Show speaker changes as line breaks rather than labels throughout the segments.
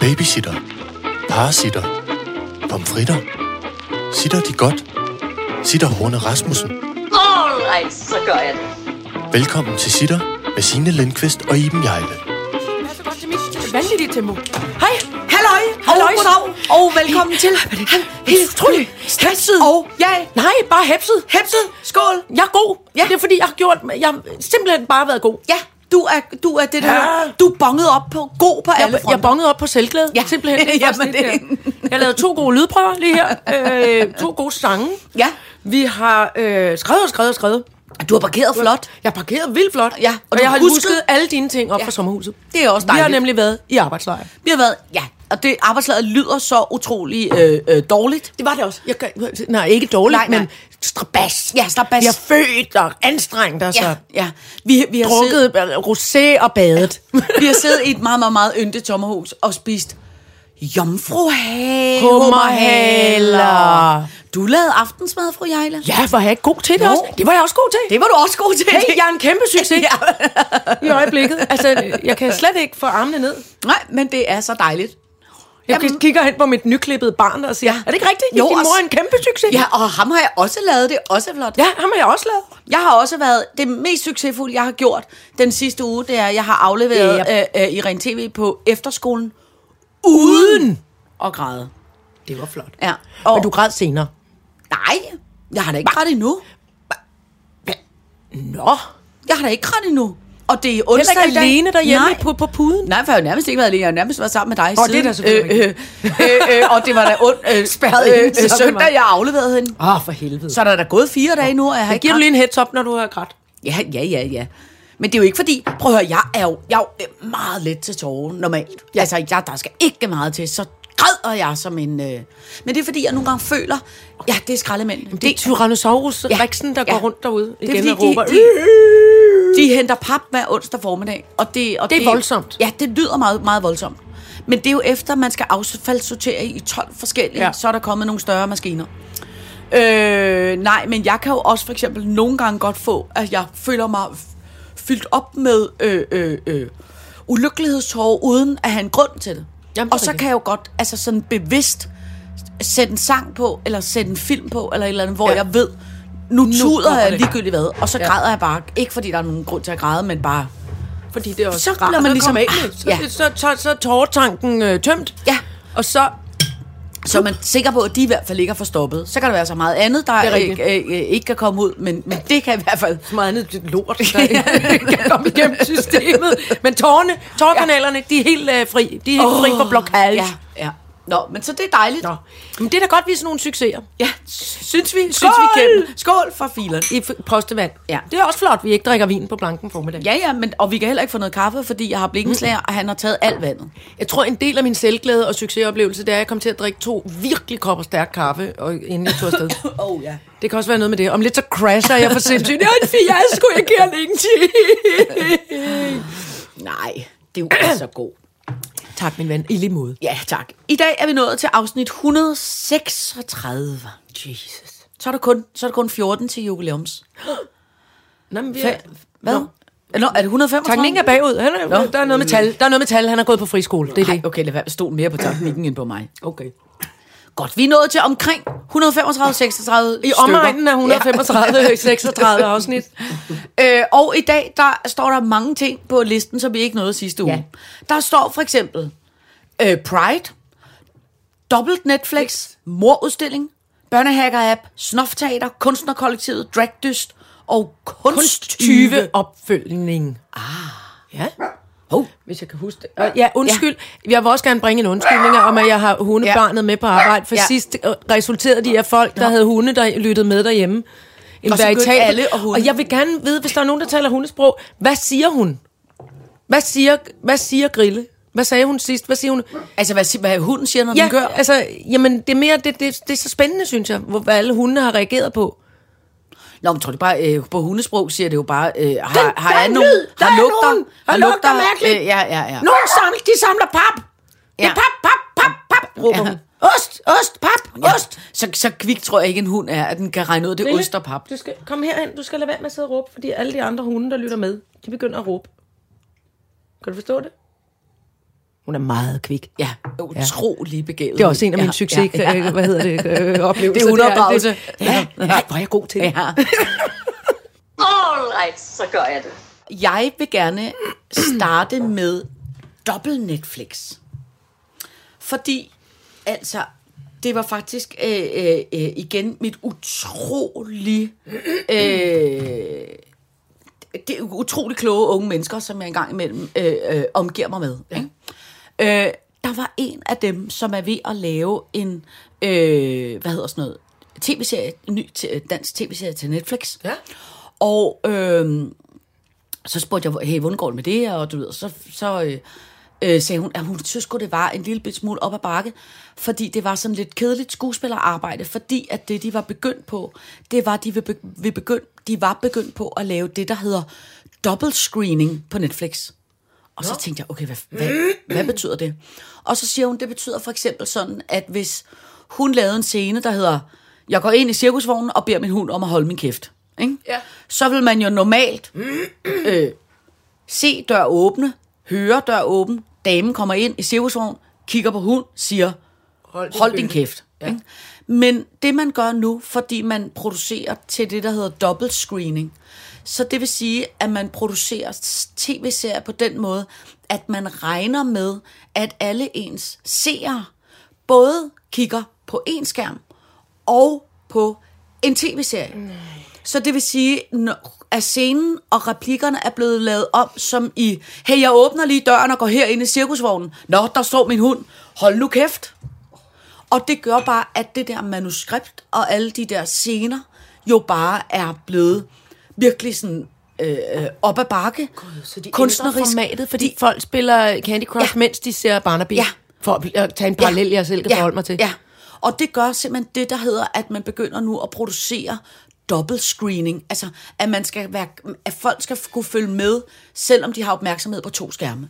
Babysitter. Parasitter. Pomfritter. Sitter de godt? Sitter Horne Rasmussen.
Alright, så gør jeg det.
Velkommen til Sitter med Signe Lindqvist og Iben Jejle.
vanvittigt tempo. Hej.
Halløj,
Halløj.
halløj, og, og velkommen til.
Helt utroligt. Stresset.
Og jeg,
Nej, bare hepset.
Hepset, skål.
Jeg er god. Ja. Det er fordi, jeg har gjort... Jeg har simpelthen bare været god.
Ja, du er, du er det der,
Ja.
du er bonget op på, god på alle
Jeg, jeg
fronter.
bongede op på selvglæde.
Ja.
Simpelthen. Det er
Jamen,
faktisk
det-
lidt der. Jeg lavede to gode lydprøver lige her. Øh, to gode sange.
Ja.
Vi har øh, skrevet og skrevet og skrevet.
Du har parkeret flot.
Jeg parkerede vildt flot.
Ja, og
og, og
du
jeg har
huskede-
husket alle dine ting op
Ja.
ja. fra sommerhuset.
Det er også
Vi har
dejligt.
nemlig været i arbejdslejr.
Vi har været, ja, og det arbejdslaget lyder så utrolig øh, øh, dårligt.
Det var det også. Jeg, kan- nej, ikke dårligt,
Nej, nej.
men strabas.
Ja, strabas.
Vi har født og anstrengt os.
Ja,
Ja.
ja. Vi, vi, har siddet,
Drukket øh, rosé og badet.
vi har siddet i et meget, meget, meget yndigt sommerhus og spist jomfruhage,
Hummerhaler.
Du lavede aftensmad, fru Jejle.
Ja, var jeg ikke god til det
Jo.
også? Det var jeg også god til.
Det var du også god til.
Hey, jeg er en kæmpe succes i øjeblikket. Altså, jeg kan slet ikke få armene ned.
Nej, men det er så dejligt.
Jeg
Jamen.
kigger hen på mit nyklippede barn og siger, ja. er det ikke rigtigt?
Jo,
Jo, Din
og
mor
s-
er en kæmpe succes.
Ja, og ham har jeg også lavet, det er også flot.
ja ham har jeg også lavet.
Jeg har også været det mest succesfulde, jeg har gjort den sidste uge, det er, at jeg har afleveret
Ja.
øh, øh, Irene TV på efterskolen uden at græde.
Det var flot.
Ja.
Og
Og,
Men du græd senere.
Nej, jeg har da ikke grædt endnu.
Nå.
Jeg har da ikke grædt endnu. Og det er onsdag
Heller ikke
i dag.
alene derhjemme
Nej.
på, på puden.
Nej, for jeg har jo nærmest ikke været alene. Jeg har nærmest været sammen med dig
Åh, det er
siden.
da selvfølgelig
øh, øh, øh, og det var da ond, øh,
Spærret
øh,
inde
øh,
sammen med
søndag,
mig.
jeg afleverede hende.
Åh, oh, for helvede.
Så er der da gået fire dage nu, og jeg har
Så
ikke
giver du
grædt.
lige en heads up, når du har grædt.
Ja, ja, ja, ja. Men det er jo ikke fordi, prøv at høre, jeg er jo, jeg er jo øh, meget let til tårer normalt. Ja. Altså, jeg, der skal ikke meget til, så græder jeg som en... Øh. Men det er fordi, jeg nogle gange føler, ja, det er skraldemænd. Jamen,
Det er Tyrannosaurus ja. Rexen, der ja. går rundt derude
Det er
igen og
fordi,
råber. "Øh!"
de, de, de henter pap hver onsdag formiddag. Og det, og
Det er voldsomt.
Ja, det lyder meget, meget voldsomt. Men det er jo efter, man skal affaldssortere i 12 forskellige, ja.
Ja.
så er der kommet nogle større maskiner. Øh, nej, men jeg kan jo også for eksempel nogle gange godt få, at jeg føler mig f- fyldt op med øh, øh, øh, ulykkelighedstårer, uden at have en grund til det.
Jamen, det er
og så
rigtigt.
kan jeg jo godt, altså sådan bevidst, sætte en sang på, eller sætte en film på, eller et eller andet, hvor ja.
Ja.
jeg ved, nu, nu tuder
kommer
jeg
det.
ligegyldigt hvad, og så ja.
Ja.
græder jeg bare. Ikke fordi der er nogen grund til at græde, men bare...
fordi det er også
Så
rart
bliver man
at
ligesom-
komme af
Ah,
med. Så,
ja.
ja. så, så, så er tårertanken øh, tømt.
Ja.
Og så
Så er man sikker på, at de i hvert fald ikke er forstoppet. Så kan der være så meget andet, der
er rigtigt.
ikke, øh, øh, ikke kan komme ud, men, men det kan i hvert fald...
så meget andet lort, der ikke kan komme igennem systemet. Men tårerne, tårkanalerne, de er helt øh, fri. De er helt oh, fri for blokage.
Ja, ja. Nå, men så det er dejligt.
Nå. Men det er da godt, vi er sådan nogle succeser.
Ja, synes vi, synes
Skål!
vi kan. Skål for filerne.
I f- postevand.
Ja.
Det er også flot, at vi ikke drikker vin på blanken formiddag.
Ja, ja, men, og vi kan heller ikke få noget kaffe, fordi jeg har blikkenslager, og han har taget alt vandet.
Jeg tror, en del af min selvglæde og succesoplevelse, det er, at jeg kom til at drikke to virkelig kopper stærk kaffe, og, inden jeg tog afsted.
Åh, oh, ja.
Det kan også være noget med det. Om lidt så crasher jeg for sindssygt. Jeg er en fiasko, jeg kan ingenting.
Nej, det er jo ikke så god.
Tak, min ven. I lige måde.
Ja, tak. I dag er vi nået til afsnit 136. Jesus. Så er der kun, så er der kun 14 til jubilæums.
Nå, men vi
Fe- Hvad? Nå. Nå, er det 135?
Tanken er bagud. Han er,
Nå.
der er noget med tal. Der er noget med tal. Han har gået på friskole. Det er
Nej,
det.
okay, lad være. Stol mere på teknikken end på mig.
Okay.
Godt, vi er nået til omkring 135, 36
I omegnen af 135, 36 afsnit.
Øh, og i dag, der står der mange ting på listen, som vi ikke nåede sidste uge. Ja. Der står for eksempel øh, Pride, dobbelt Netflix, morudstilling, børnehacker-app, snofteater, kunstnerkollektivet, dragdyst og kunsttyve.
Kunsttyve opfølgning. Ah. Ja.
Hov.
Hvis jeg kan huske det. Øh. Og, ja, undskyld. Ja. Jeg vil også gerne bringe en undskyldning om, at jeg har hundebarnet ja. med på arbejde. For
Ja.
ja. sidst øh, resulterede de af folk, der havde hunde, der lyttede med derhjemme. En
Og så begyndte
veritabel-
alle at hunde.
Og jeg vil gerne vide, hvis der er nogen, der taler hundesprog, hvad siger hun? Hvad siger, hvad siger Grille? Hvad sagde hun sidst? Hvad siger hun?
Altså, hvad, si- hvad hunden siger, når
Ja,
den gør.
altså, jamen, det er mere, det, det, det er så spændende, synes jeg, hvor, hvad alle hunde har reageret på.
Nå, men tror du bare, øh, på hundesprog siger det jo bare, øh, har,
Den-
har
der er
jeg
en
nogen,
lyd, der
har
er
lugter,
nogen, der lugter mærkeligt.
Øh, ja, ja, ja.
Nogle samler, de samler pap! Ja.
Ja.
Det er pap, pap, pap, pap, råber
Ja.
hun. Ost, ost, pap,
Ja.
ost.
Så, så kvik tror jeg ikke, en hund er, at den kan regne ud, det er ost og pap.
Du skal, kom herhen, du skal lade være med at sidde og råbe, fordi alle de andre hunde, der lytter med, de begynder at råbe. Kan du forstå det? Hun er meget kvik.
Ja, utrolig begavet.
Det er også en af mine
ja,
succes,
Ja, ja.
øh, hvad hedder det, øh, oplevelser.
Det er underdragelse.
det- Ja, nej, hvor er jeg god til det.
ja.
All right, så gør jeg det.
Jeg vil gerne starte med dobbelt Netflix. Fordi, altså, det var faktisk øh, øh, øh, igen mit utrolig... Øh, det er utrolig kloge unge mennesker, som jeg engang imellem øh, øh, omgiver mig med. Ja. Ikke? Øh, der var en af dem, som er ved at lave en, øh, hvad hedder sådan noget, tv-serie, en ny t- dansk tv-serie til Netflix. Ja. Og øh, så spurgte jeg, hey, hvordan går det med det her? Og du ved, så, så øh, øh, sagde hun, at hun synes godt, det var en lille bit smule op ad bakke, fordi det var sådan lidt kedeligt skuespillerarbejde, fordi at det, de var begyndt på, det var, de, vil be, vil begyndt, de var begyndt på at lave det, der hedder double screening på Netflix. Og så tænkte jeg, okay, hvad, hvad, hvad betyder det? Og så siger hun, det betyder for eksempel sådan, at hvis hun lavede en scene, der hedder, jeg går ind i cirkusvognen og beder min hund om at holde min kæft. Ikke? Ja. Så vil man jo normalt se dør åbne, høre dør åben, damen kommer ind i cirkusvogn, kigger på hund, siger, hold din, hold din kæft. Ja. Men det man gør nu, fordi man producerer til det, der hedder double screening, så det vil sige, at man producerer s- tv-serier på den måde, at man regner med, at alle ens seere både kigger på en skærm og på en tv-serie.
Mm.
Så det vil sige, når- at scenen og replikkerne er blevet lavet om som i, hey, jeg åbner lige døren og går herind i cirkusvognen. Nå, der står min hund. Hold nu kæft. Og det gør bare, at det der manuskript og alle de der scener jo bare er blevet virkelig sådan øh, øh, op ad bakke. God,
Så de ændrer formatet, fordi folk spiller Candy Crush, ja. mens de ser Barnaby.
Ja.
For at bl- at tage en parallel, jeg selv kan forholde mig til.
Ja, og det gør simpelthen det, der hedder, at man begynder nu at producere dobbelt screening. Altså, at, man skal være, at folk skal kunne følge med, selvom de har opmærksomhed på to skærme.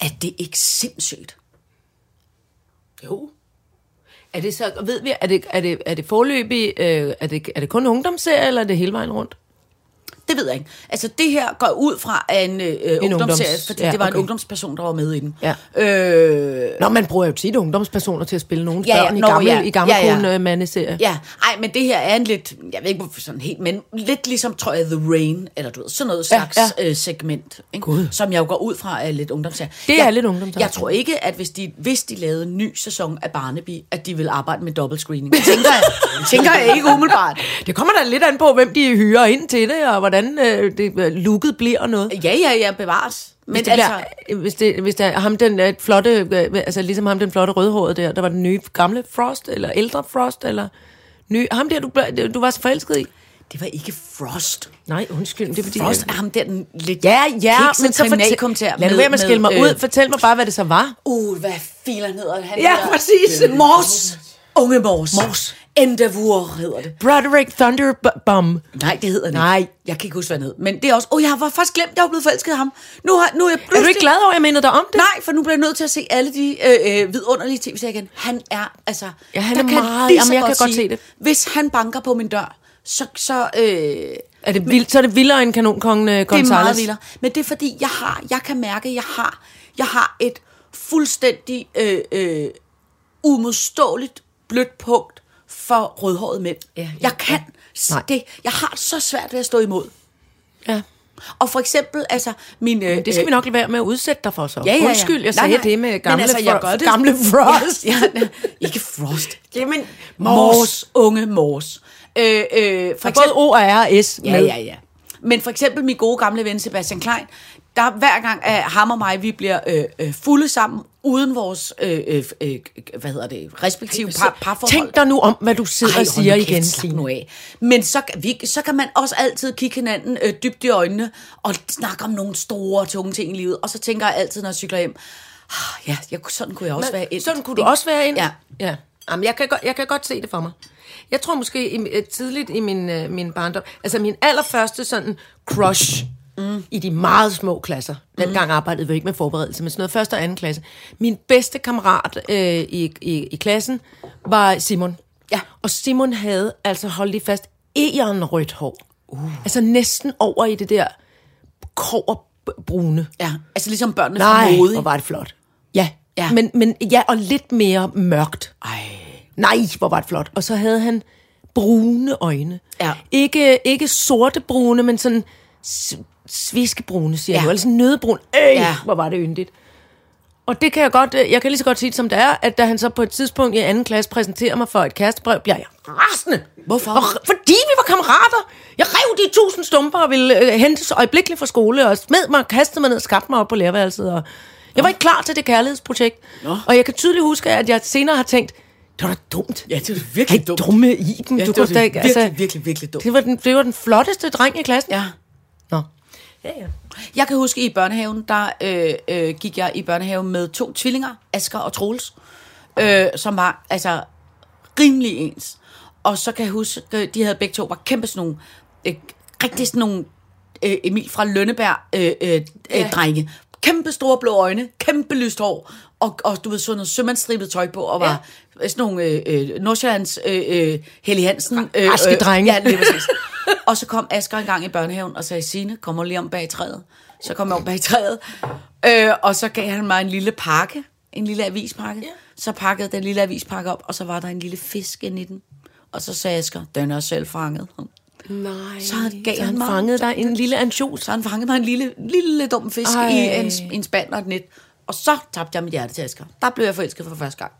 Er det ikke sindssygt?
Jo. Er det så, ved vi, er det, er det, er det forløbig, øh, er, det, er det kun ungdomsserie, eller er det hele vejen rundt?
Det ved jeg ikke. Altså, det her går ud fra af en, øh, en ungdomsserie,
ungdoms-
fordi
ja,
ja, det var okay.
okay.
en ungdomsperson, der var med i den.
Ja.
Øh,
Nå, man bruger jo tit ungdomspersoner til at spille nogle
Ja,
ja,
ja.
børn i
Nå,
gamle,
ja.
i gamle
Ja, ja.
ja, ja. mandeserier.
ja, ej, men det her er en lidt, jeg ved ikke hvorfor sådan helt, men lidt ligesom, tror jeg, The Rain, eller du ved, sådan noget slags ja,
ja.
ja. Øh, segment, ikke?
Gud.
som jeg jo går ud fra er lidt ungdomsserie.
Det
jeg,
er lidt ungdomsserie.
Jeg tror ikke, at hvis de, hvis de lavede en ny sæson af Barnaby, at de vil arbejde med dobbelt screening. Tænker jeg, tænker jeg ikke umiddelbart.
Det kommer da lidt an på, hvem de hyrer ind til det, og hvordan øh, det, øh, looket bliver og noget.
Ja, ja, ja, bevares. Men
Hvis det,
altså,
altså, bliver, hvis det, hvis det er ham den øh, flotte, øh, altså ligesom ham den flotte rødhårede der, der var den nye gamle Frost, eller ældre Frost, eller ny, ham der, du, blev- du var så forelsket i.
det var ikke Frost.
Nej, undskyld, det er fordi...
Frost er ham der den lidt
Ja, ja, men så
kriminalkommissær
fortæl, lad nu være med at skille mig
øh,
ud. Fortæl mig bare, hvad det så var.
Uh, hvad filen hedder han?
Ja,
hedder-
præcis.
Øh, Mors. Unge Mors.
Mors.
Endeavour hedder det.
Broderick Thunderbomb.
Nej, det hedder han
Nej.
ikke. Jeg kan ikke huske, hvad han hed. Men det er også... Åh, oh, jeg var faktisk glemt, jeg var blevet forelsket i ham. Nu, har, nu er jeg pludselig...
Er du ikke glad over, at jeg mindede dig om det?
Nej, for nu bliver jeg nødt til at se alle de øh, øh, vidunderlige tv-serier igen. Han er, altså...
Ja, han
der
er
kan
meget-
lige så
jamen, jeg kan godt se
sige,
det.
Hvis han banker på min dør, så... så øh,
Er det vildt, så er det vildere end kanonkongen uh, Gonzales.
det er meget vildere. Men det er fordi, jeg har, jeg kan mærke, at jeg har, jeg har et fuldstændig øh, øh, umodståeligt blødt punkt for rødhårede mænd.
Ja, ja,
jeg kan
Nej.
ja. det. Jeg har så svært ved at stå imod.
Ja.
Og for eksempel, altså, min... Øh,
Det skal vi nok lade være med at udsætte dig for så. Undskyld, jeg
Nej,
sagde
nej.
det med
Men
gamle,
altså, jeg gør det.
gamle Frost.
Ja, ja, ikke Frost.
Jamen,
Mors.
Mors.
Unge Mors. Øh, øh, for
For både O og R og S
Ja,
med.
ja, ja. Men for eksempel min gode gamle ven Sebastian Klein, der hver gang at ham og mig, vi bliver øh, øh, fulde sammen, uden vores, øh, øh, øh, hvad hedder det, respektive par, parforhold.
Tænk dig nu om, hvad du sidder og
hold nu
siger
kæft,
igen,
slap
Signe.
nu af. Men så, kan vi, så kan man også altid kigge hinanden øh, dybt i øjnene og snakke om nogle store, tunge ting i livet. Og så tænker jeg altid, når jeg cykler hjem, ah, ja, jeg, sådan kunne jeg også være ind.
Sådan kunne du også være ind.
Ja.
ja. Jamen, jeg, kan godt, jeg kan godt se det for mig. Jeg tror måske i, øh, tidligt i min, øh, min barndom, altså min allerførste sådan crush mm. i de meget små klasser. Dengang arbejdede vi ikke med forberedelse, men sådan noget første og anden klasse. Min bedste kammerat øh, i, i, i klassen var Simon.
Ja.
Og Simon havde, altså holdt lige fast, egern rødt hår. Uh. Altså næsten over i det der kover b- brune.
Ja, altså ligesom børnene fra
Nej,
mode.
hvor
ikke?
var det flot.
Ja, ja. Men,
Men, men ja, og lidt mere mørkt.
Ej.
Nej, hvor var det flot. Og så havde han brune øjne.
Ja.
Ikke, ikke sorte brune, men sådan s- sviskebrune, siger
Ja.
ja. jeg. Eller sådan nødebrune. Øh,
Ja.
ja. hvor var det yndigt. Og det kan jeg godt, øh, jeg kan lige så godt sige det, som det er, at da han så på et tidspunkt i anden klasse præsenterer mig for et kærestebrev, bliver jeg rasende.
Hvorfor?
Og, r- fordi vi var kammerater. Jeg rev de tusind stumper og ville øh, hentes øjeblikkeligt fra skole, og smed mig, kastede mig ned og skabte mig op på lærerværelset. Og jeg var ikke klar til det kærlighedsprojekt. Nå. Og jeg kan tydeligt huske, at jeg senere har tænkt, det var da dumt.
ja, det er virkelig
Ej,
dumt.
dumme Iben.
Ja,
du
det var
kunne da
det
ikke,
virkelig,
altså,
virkelig, virkelig, virkelig dumt.
det var, den, det var den flotteste dreng i klassen.
Ja.
Nå.
Jeg kan huske, i børnehaven, der øh, øh, gik jeg i børnehaven med to tvillinger, Asker og Troels, øh, som var altså rimelig ens. Og så kan jeg huske, øh, de havde begge to var kæmpe sådan nogle, øh, rigtig sådan nogle øh, Emil fra Lønneberg øh, øh, øh, drenge. Kæmpe store blå øjne, kæmpe lyst hår, og, og du ved, sådan noget sømandstribet tøj på, og var ja. sådan nogle øh, øh, Nordsjællands øh, øh, Helle Hansen. Øh,
Raske drenge.
Ja, lige præcis. og så kom Asger en gang i børnehaven og sagde, Signe, kom og lige om bag træet. Så kom jeg om bag træet, øh, og så gav han mig en lille pakke, en lille avispakke. Ja. Så pakkede den lille avispakke op, og så var der en lille fisk inde i den. Og så sagde Asger, den er selv fanget.
Nej.
Så han gav
så
han
han
mig-
fangede dig en lille ansjos.
Så han fangede mig en lille, lille dum fisk Ej.
Ej.
i en, en spand og et net. Og så tabte jeg mit hjerte til Asger. Der blev jeg forelsket for første gang.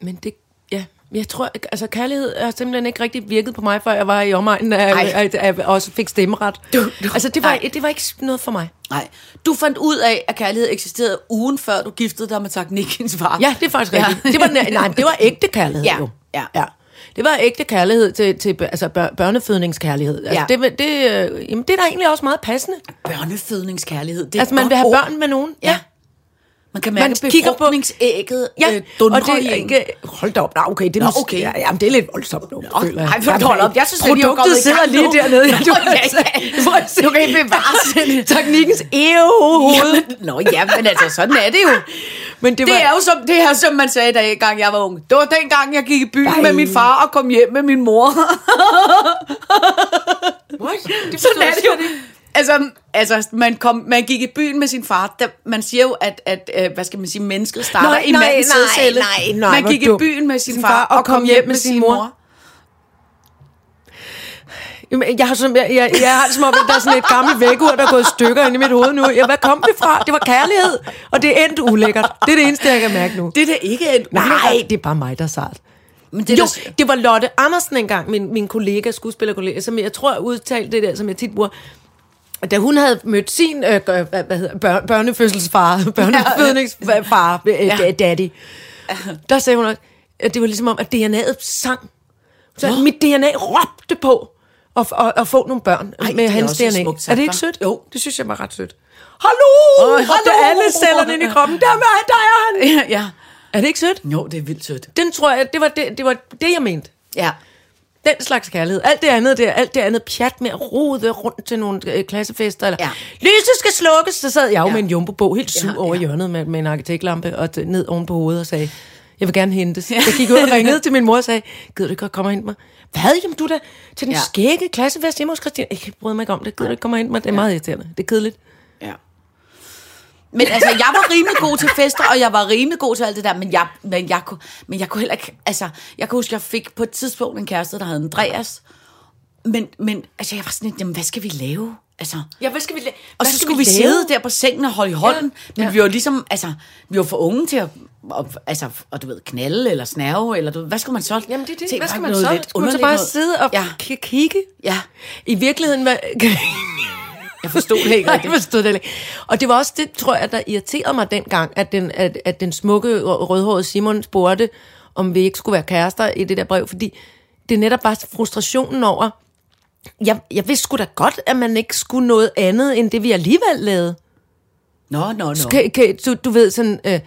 Men det, ja, jeg tror, altså kærlighed har simpelthen ikke rigtig virket på mig, før jeg var i omegnen af,
Ej.
af, af, af og så fik stemmeret.
Du- du-
altså, det var,
Ej.
det var ikke noget for mig.
Nej. Du fandt ud af, at kærlighed eksisterede ugen før du giftede dig med Taknikens far.
Ja, det er faktisk
Ja.
rigtigt. Det var, næ- nej, men det var ægte kærlighed
Ja,
jo.
ja.
ja. Det var ægte kærlighed til, til bør- altså bør, børnefødningskærlighed. Altså,
Ja.
ja. det, det, øh, jamen, det er da egentlig også meget passende.
Børnefødningskærlighed. Det er
Altså, man vil have børn med nogen.
Ja. Man kan
Man
mærke
kigger på-
befrugtningsægget
Ja,
øh, dundre
og det er
i en.
ikke... Hold da op, nej, okay. Det er
Nå,
måske-
okay.
Ja, jamen, det er lidt voldsomt nu, Nå, føler
Ej, for hold op. Jeg synes, at vi er kommet
Produktet
i
sidder
gang
lige
nu.
dernede.
Nå,
Du,
ja, ja.
Prøv at se.
Du kan ikke bevare
Teknikkens ævehoved.
Jamen, Nå ja, men altså, sådan er det jo.
Men det, var,
Det er jo som, det her, som man sagde, da gang jeg var ung. Det var dengang, jeg gik i byen
Ej.
med min far og kom hjem med min mor.
What? Det
sådan er det jo. Altså, altså man, kom, man gik i byen med sin far. Der, man siger jo, at, at øh, hvad skal man sige, mennesket starter
Nej,
i
nej,
mandens
nej,
sædcelle.
nej, nej,
Man
hvor
gik i
dumt.
byen med sin, far og kom hjem med sin mor.
Jamen, jeg har, sådan, jeg, jeg, jeg har det som om, at der er sådan et gammelt vægur, der er gået i stykker inde i mit hoved nu. Ja, hvad kom det fra? Det var kærlighed, og det er endt ulækkert. Det er det eneste, jeg kan mærke nu.
Det er da ikke en
Nej, det er bare mig, der er sart.
Men det er
jo,
da-
det var Lotte Andersen engang, min, min kollega, skuespillerkollega, som jeg tror udtalte det der, som jeg tit bruger. Da hun havde mødt sin øh, gør- hvad, hvad hedder, bør, børnefødselsfar, børnefødningsfar, øh,
Ja.
ja. daddy, der sagde hun, også, at det var ligesom om, at DNA'et sang. Så mit DNA råbte på at, at, at få nogle børn Ej,
det
med
er
hans
også
DNA.
smukt sagt,
er det ikke
hva'?
sødt? Jo, det synes jeg var ret sødt.
Åh,
Hallo! Oh,
hallo!
hallo! alle cellerne inde i kroppen. Der, er- der er han!
Ja, ja.
Er det ikke sødt?
Jo, det er vildt sødt.
Den tror jeg, det var det, det, var det jeg mente.
Ja.
Den slags kærlighed. Alt det andet der, alt det andet pjat med at rode rundt til nogle øh, klassefester. Eller,
Ja.
ja. Lyset skal slukkes! Så sad jeg jo
Ja.
ja. med en jumbo helt sur
Ja,
ja, over
ja.
ja. hjørnet med, med en arkitektlampe og t- ned oven på hovedet og sagde, jeg vil gerne hentes. Ja. Jeg gik ud og ringede til min mor og sagde, gider du ikke godt komme og hente mig? Hvad? Jamen du da til den
Ja.
ja. skægge klassefest hjemme hos Christian. Jeg bryder mig ikke om det. Gider du ikke komme og hente mig? Det er meget irriterende. Det er kedeligt.
Ja. Men altså, jeg var rimelig god til fester, og jeg var rimelig god til alt det der, men jeg, men jeg, kunne, men jeg kunne heller ikke, altså, jeg kunne huske, jeg fik på et tidspunkt en kæreste, der hed Andreas, men, men altså, jeg var sådan lidt, jamen, hvad skal vi lave? Altså,
Ja, hvad skal vi lave?
og så skulle vi, sidde der på sengen og holde i hånden, ja. men
Ja.
vi var ligesom, altså, vi var for unge til at, og, altså, og du ved, knalde eller snærve, eller du, ved, hvad skulle man så?
Jamen det er
Se,
det. Hvad
bare
skal man
noget
så?
lidt
Skal man så
underligt
bare
noget.
sidde og
Ja,
k- kigge?
ja.
I virkeligheden var...
Jeg forstod det ikke
Nej, jeg
rigtigt.
forstod det ikke. Og det var også det, tror jeg, der irriterede mig dengang, at den, at, at den smukke rø- rødhårede Simon spurgte, om vi ikke skulle være kærester i det der brev, fordi det netop var frustrationen over, jeg, jeg vidste sgu da godt, at man ikke skulle noget andet, end det vi alligevel lavede.
Nå, nå, nå.
Kan, kan, du, du ved sådan... Øh,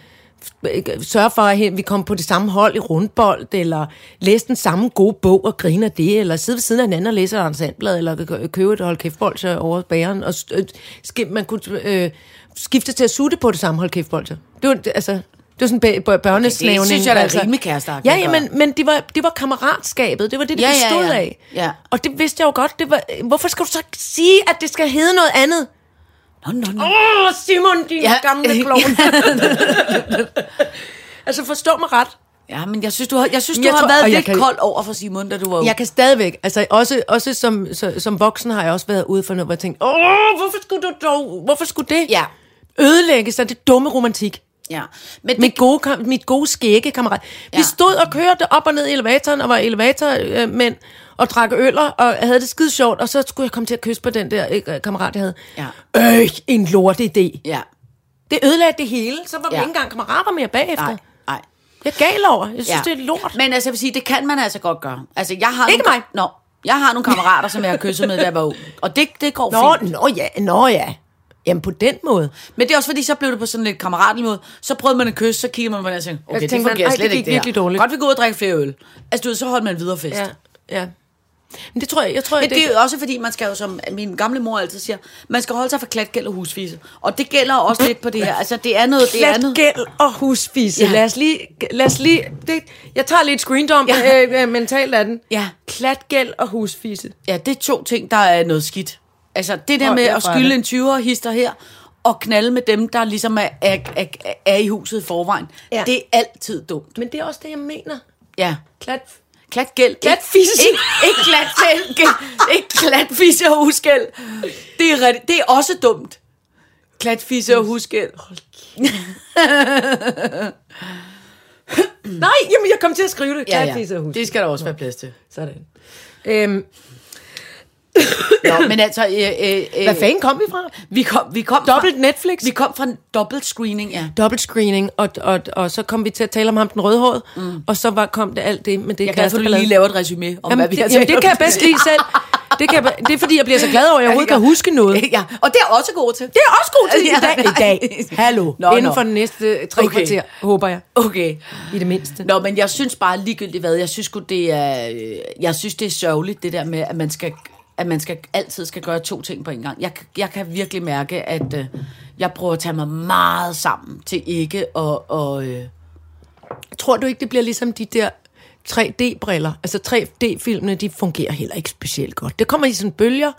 f- sørge for, at hen- vi kommer på det samme hold i rundbold, eller læse den samme gode bog og griner det, eller sidde ved siden af hinanden og læse et ensemble, eller kø- købe et hold kæftbolde over bageren, og s- øh, sk- man kunne øh, skifte til at sutte på det samme hold kæftbolde. Det var, det- altså, det var sådan bæ- bæ- børneslavning.
synes jeg da er
altså.
rimelig kæresteagtigt
Ja,
at
ja,
gøre.
men, men det, var, det var kammeratskabet. Det var det, det
Ja,
ja,
ja,
bestod
ja.
af.
Ja.
Og det vidste jeg jo godt. Det var, hvorfor skal du så sige, at det skal hedde noget andet?
Nå, nå, nå.
Åh, Simon, din
Ja.
ja. gamle klovn. altså, forstå mig ret.
Ja, men jeg synes, du har, jeg synes, du
Jeg
har
tror-
været
og jeg
lidt
kan-
kold over for Simon, da du var ung.
Jeg kan stadigvæk, altså også, også som, så, som voksen har jeg også været ude for noget, hvor jeg tænkte, åh, hvorfor skulle du dog, hvorfor skulle det
Ja.
ødelægge sig, det dumme romantik?
Ja. Men det,
Mit gode, kam- mit gode skægge, kammerat. Vi
Ja.
stod og kørte op og ned i elevatoren, og var elevatormænd, og drak øller, og havde det skide sjovt, og så skulle jeg komme til at kysse på den der øh, kammerat, jeg havde.
Ja.
Øh, en lorte idé.
ja.
Det ødelagde det hele, så var vi
Ja.
ikke engang kammerater mere bagefter.
Nej, nej.
Jeg er gal over, jeg synes, ja. det er lort.
Men altså, jeg vil sige, det kan man altså godt gøre. Altså, jeg har
Ikke
nogle,
mig.
Nå, jeg har nogle kammerater, som jeg har kysset med, da jeg var ung. Og det, det går
Nå,
fint.
nå ja, nå ja. Jamen på den måde.
Men det er også fordi, så blev det på sådan lidt kammeratlig måde. Så prøvede man at kysse, så kiggede man på det og tænkte, okay, det
Altså, tænkte man,
fungerer
ej,
slet
det gik
ikke det her.
virkelig dårligt.
Godt, vi går ud og drikke flere øl. Altså, du ved, så holdt man videre fest.
Ja, ja. Men det tror jeg, jeg tror,
Men
det,
det er jo også fordi, man skal jo, som min gamle mor altid siger, man skal holde sig for klatgæld og husfise. Og det gælder også lidt på det her. Altså, det er noget, det er noget.
gæld og husfise. Ja.
Ja.
Lad os lige... Lad os lige det, jeg tager lige et screendom ja.
Ja.
øh, øh, mentalt af den.
Ja.
Klatgæld og husfise.
Ja, det er to ting, der er noget skidt. Altså, det der
Hold
med
da
at
fra
skylde
det.
en 20'er hister her, og knalde med dem, der ligesom er, er, er, er i huset i forvejen.
Ja.
Ja. Det er altid dumt.
Men det er også det, jeg mener.
Ja.
Klat...
Klat gæld.
Klatfisse.
Ikke, ikke klat gæld. Ikke klatfisse og husgæld. Det er, rigtig- det er også dumt. Klatfisse og husgæld.
Nej, jamen jeg kom til at skrive det. Klatfisse og husfise.
Det skal der også være plads til.
Sådan. Øhm,
Nå, men altså... Øh, øh, øh,
hvad fanden kom vi fra?
Vi kom, vi kom
Dobbelt
fra,
Netflix?
Vi kom fra en dobbelt screening, ja.
dobbelt screening, og, og, og så kom vi til at tale om ham den rødhårede, mm. og så var, kom det alt det med det
Jeg kan altså for, at du
kæresteballade.
lige laver et resume om,
Jamen,
hvad vi
det,
har
jamen,
talt
det
om.
kan jeg bedst lide selv. Det, kan jeg, be- det er fordi, jeg bliver så glad over, at jeg overhovedet kan huske noget.
Ja, og det er også god til.
Det er også god til i dag.
Ja,
I dag. Hallo. Nå,
Nå,
Inden
nå.
for den næste tre okay.
Okay.
kvarter, håber jeg.
Okay.
I det mindste.
Nå, men jeg synes bare ligegyldigt hvad, jeg synes sgu, det er, øh, jeg synes, det er sørgeligt, det der med, at man skal, at man skal altid skal gøre to ting på en gang. Jeg, jeg kan virkelig mærke, at øh, jeg prøver at tage mig meget sammen til ikke og, og øh,
Tror du ikke, det bliver ligesom de der 3D-briller? Altså 3D-filmene, de fungerer heller ikke specielt godt. Det kommer i sådan bølger.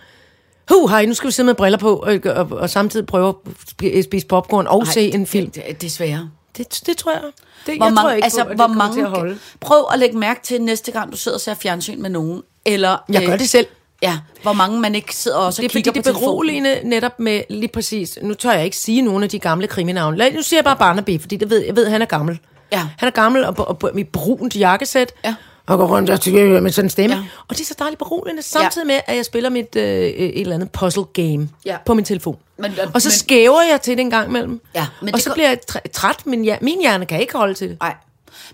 Huh, hej, nu skal vi sidde med briller på, og, og, og samtidig prøve at spi- spise popcorn og Ej, se en film.
Det, det, desværre.
Det, det tror jeg. Det,
Hvor
jeg
mange,
tror ikke
altså,
på, at det
hvor
kommer
mange,
til at holde.
Prøv at lægge mærke til næste gang, du sidder og ser fjernsyn med nogen. Eller, øh,
Jeg gør Øh, det selv.
Ja, hvor mange man ikke sidder også og
Det er fordi,
kigger
det
på
er
telefonen.
beroligende netop med lige præcis... Nu tør jeg ikke sige nogen af de gamle kriminavne. Lad, nu siger jeg bare Barnaby, fordi det ved, jeg ved, at han er gammel.
Ja.
Han er gammel og, på- og, og i brunt jakkesæt.
Ja.
Og går rundt og tykker med sådan en stemme. Ja.
Ja.
Og det er så dejligt beroligende, samtidig med, at jeg spiller mit øh, et eller andet puzzle game
Ja.
på min telefon.
Men-
og så
men-
skæver jeg til det en gang imellem.
Ja,
men
men
og
det
så
går-
bliver jeg træ- træt, men ja, min hjerne kan ikke holde til det.
Nej.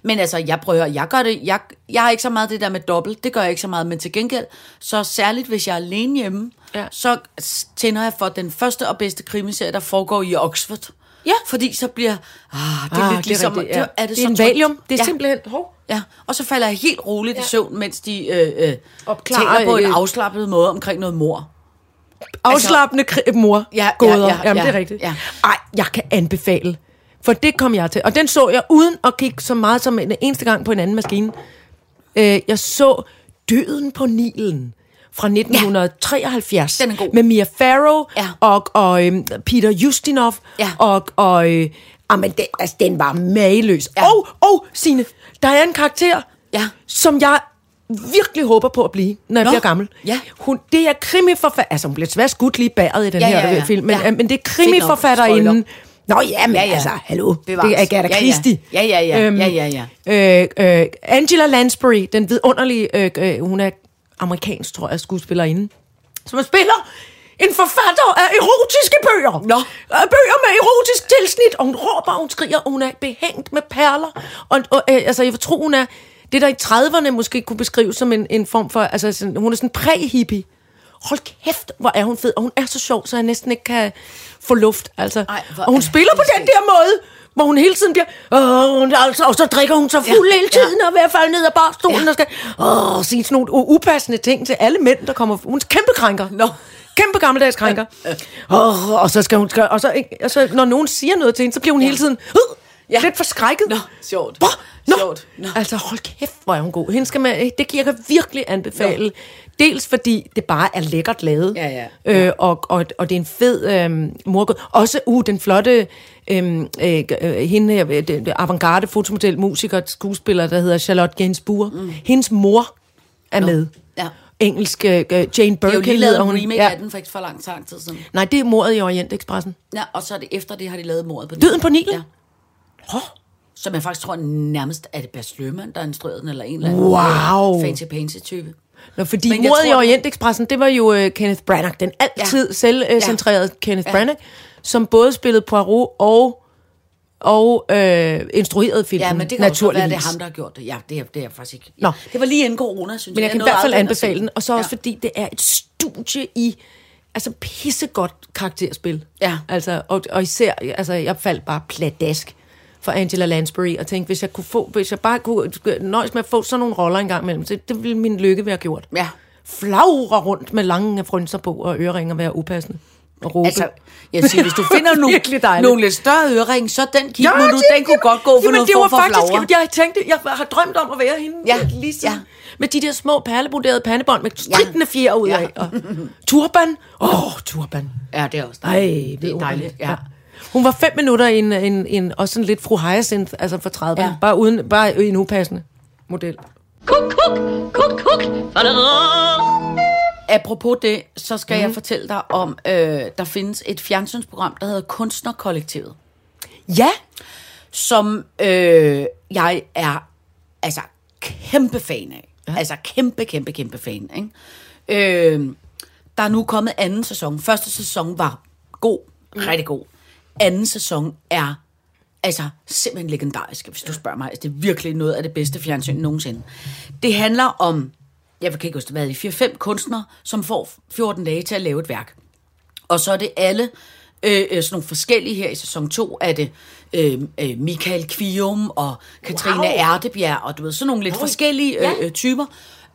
Men altså, jeg prøver, jeg gør det, jeg, jeg er ikke så meget det der med dobbelt, det gør jeg ikke så meget, men til gengæld, så særligt hvis jeg er alene hjemme,
Ja.
ja. så s- tænder jeg for den første og bedste krimiserie, der foregår i Oxford.
Ja.
Fordi så bliver, ah, det er ah,
Ah,
lidt ligesom,
rigtigt,
det,
ja.
er det,
det,
så
er en
trygt.
valium. Det er
ja.
simpelthen... Hov.
Ja, og så falder jeg helt roligt i søvn, mens de øh, øh,
Opklarer,
taler på en
øh,
afslappet måde omkring noget mor.
Afslappende kri- mor.
Altså, Ja, ja,
gåder.
ja,
Jamen, det er
ja,
rigtigt.
ja.
Ej, jeg kan anbefale. For det kom jeg til. Og den så jeg uden at kigge så meget som en eneste gang på en anden maskine. Øh, jeg så Døden på Nilen fra 1973.
Ja, den er god.
Med Mia Farrow
Ja.
og, og øhm, Peter Justinov.
Ja.
Og, og øh, jamen, den, altså, den var mageløs.
Ja.
Og, og Signe, der er en karakter,
Ja.
som jeg virkelig håber på at blive, når jeg
Nå,
bliver gammel.
ja.
Hun, det er krimiforfatter... Altså, hun bliver svært skudt lige bagud i den
Ja,
her
ja, ja.
film, men,
Ja.
men det er krimiforfatterinde.
Fint
Nå ja, men ja,
Ja,
ja.
ja.
altså, hallo,
Bevares.
det er Agatha
Ja, ja.
Christie. Øhm,
Ja, ja, ja. Ja, ja,
Øh, øh, Angela Lansbury, den vidunderlige, øh, øh, hun er amerikansk, tror jeg, skuespillerinde, som spiller en forfatter af erotiske bøger.
Nå.
Øh, Bøger med erotisk tilsnit, og hun råber, og hun skriger, og hun er behængt med perler. Og, og øh, altså, jeg tror, hun er det, der i 30'erne måske kunne beskrives som en, en form for... Altså, sådan, hun er sådan præ-hippie. Hold kæft, hvor er hun fed. Og hun er så sjov, så jeg næsten ikke kan få luft. Altså. Ej,
Ej, hvor
og hun
er
spiller på
det
den der måde, hvor hun hele tiden bliver... Åh, hun, altså, og så drikker hun så fuld ja,
Ja,
hele
ja.
tiden, ja. og i hvert fald ned ad barstolen, ja.
Ja.
og skal åh, sige sådan nogle u- upassende ting til alle mænd, der kommer... Hun er kæmpe krænker.
Nå.
Kæmpe gammeldags krænker. Åh, og så skal hun... skal- Og så, ikke- og så, når nogen siger noget til hende, så bliver hun hele tiden... Øh, ja.
Ja.
Lidt forskrækket.
Nå, sjovt.
Hvor? Nå,
Sjovt. Nå.
altså hold kæft, hvor er hun god. Hende skal man, det kan jeg virkelig anbefale. Dels fordi det bare er lækkert lavet,
Ja,
ja. Øh, og, og, og det er en fed øh, morgåd. Også uh, den flotte, øh, øh, øh, hende her, øh, den- den avantgarde fotomodel, musiker, skuespiller, der hedder Charlotte Gainsbourg. Mm. Hendes mor er no. med.
Ja.
Engelsk, øh, Jane
Det er jo
Birkin
lige lavet
hedder
en
hun.
remake ja. af den for ikke for lang lang tid siden.
Nej, det er mordet i Orientekspressen.
Ja, og så er det efter det, har de lavet mordet på
Døden på Nilen?
Ja. Som jeg faktisk tror nærmest, er det Bas Løhmann, der har instrueret den, eller en eller anden øh,
Wow.
fancy pansy type.
Nå, fordi
Men jeg
mordet i
tror-
Orientekspressen, det var jo øh, Kenneth Branagh, den altid ja.
Ja.
selvcentrerede ja. Kenneth ja.
Ja.
Branagh, som både spillede Poirot og, og øh, instruerede filmen,
Ja, men det kan også godt
naturligvis.
være, det er ham, der har gjort det. Ja, det er, det er jeg faktisk ikke.
Nå.
Det var lige inden corona, synes jeg.
Men jeg kan i
nåede
hvert fald
aldrig ind og se
anbefale den, og så også ja. fordi det er et studie i altså pissegodt karakterspil.
Ja.
Altså, og, og især, altså, jeg faldt bare pladask for Angela Lansbury, og tænkte, hvis jeg, kunne få, hvis jeg bare kunne nøjes med at få sådan nogle roller en gang imellem, så det ville min lykke være gjort.
Ja.
Flagre rundt med lange frynser på, og øreringer være upassende. Og råbe.
Altså, jeg siger, hvis du finder
Virkelig
nogle,
dejligt.
nogle lidt større ørering, så den kig nu, du,
det-
den kunne godt gå for
jamen,
noget
det
form
var
for
faktisk,
flagre.
jeg tænkte, jeg har drømt om at være hende.
Ja,
lige siden.
ja.
Med de der små perlebroderede pandebånd med strikkende fjer ud af. Ja. Og turban. Åh, oh, turban.
Ja, det er også
Ej,
dejligt. det er
hun.
dejligt. Ja.
Hun var fem minutter i en, en, en også sådan lidt fru Hyacinth, altså for 30. Ja.
Ja.
Bare, uden, bare en upassende model.
Kuk, kuk, kuk, kuk. Fadadadam.
Apropos det, så skal mm. jeg fortælle dig om, øh, der findes et fjernsynsprogram, der hedder Kunstnerkollektivet.
Ja,
som øh, jeg er altså kæmpe fan af. Ja. Altså kæmpe, kæmpe, kæmpe fan. Ikke? Øh, der er nu kommet anden sæson. Første sæson var god, rigtig god. Anden sæson er altså simpelthen legendarisk, hvis du spørger mig. Altså, det er virkelig noget af det bedste fjernsyn nogensinde. Det handler om, jeg kan ikke huske, hvad det er, 4-5 kunstnere, som får 14 dage til at lave et værk. Og så er det alle øh, øh, sådan nogle forskellige her i sæson 2, er det øh, øh, Michael Kvium og Katrine wow. Ertebjerg, og du ved, sådan nogle lidt forskellige øh, ja. typer.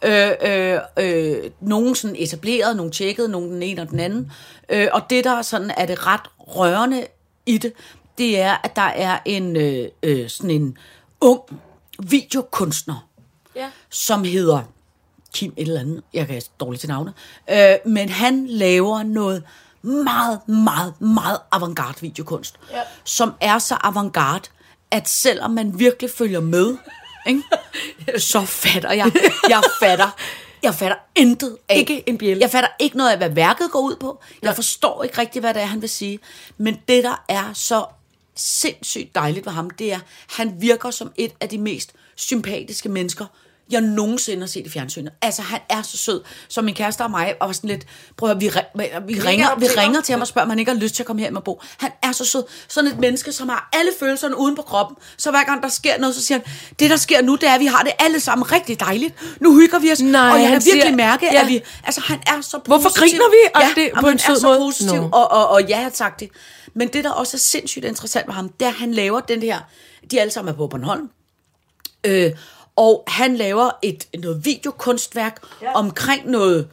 Øh, øh, øh, nogle sådan etableret, nogle tjekket, nogle den ene og den anden. Øh, og det, der sådan er det ret rørende i det, det er, at der er en øh, øh, sådan en ung videokunstner, som hedder Kim et eller andet, jeg kan dårligt til navne, øh, men han laver noget meget, meget, meget avantgarde videokunst, ja. som er så avantgarde, at selvom man virkelig følger med, ikke, så fatter jeg, jeg fatter, jeg fatter intet af.
Ikke en bjælde.
Jeg fatter ikke noget af, hvad værket går ud på. Jeg forstår ikke rigtigt, hvad det er, han vil sige. Men det, der er så sindssygt dejligt ved ham, det er, han virker som et af de mest sympatiske mennesker, jeg nogensinde har set i fjernsynet. Altså, han er så sød, som min kæreste og mig, og var sådan lidt, prøv at høre, vi, ri- vi, ringer,
ham
vi
til dig?
ringer til ham og spørger, om han ikke har lyst til at komme her med Bo. Han er så sød. Sådan et menneske, som har alle følelserne uden på kroppen. Så hver gang der sker noget, så siger han, det der sker nu, det er, at vi har det alle sammen rigtig dejligt. Nu hygger vi os.
Nej,
og jeg
han
kan virkelig
siger-
mærke,
ja.
at vi... Altså, han er så positiv.
Hvorfor griner vi? Og
Ja,
det-
og
på
han
en sød
er så
måde.
positiv,
Nå.
og, og, og ja, tak det. Men det, der også er sindssygt interessant med ham, det er, at han laver den her... De alle sammen er på Bornholm. Øh, og han laver et noget videokunstværk ja. omkring noget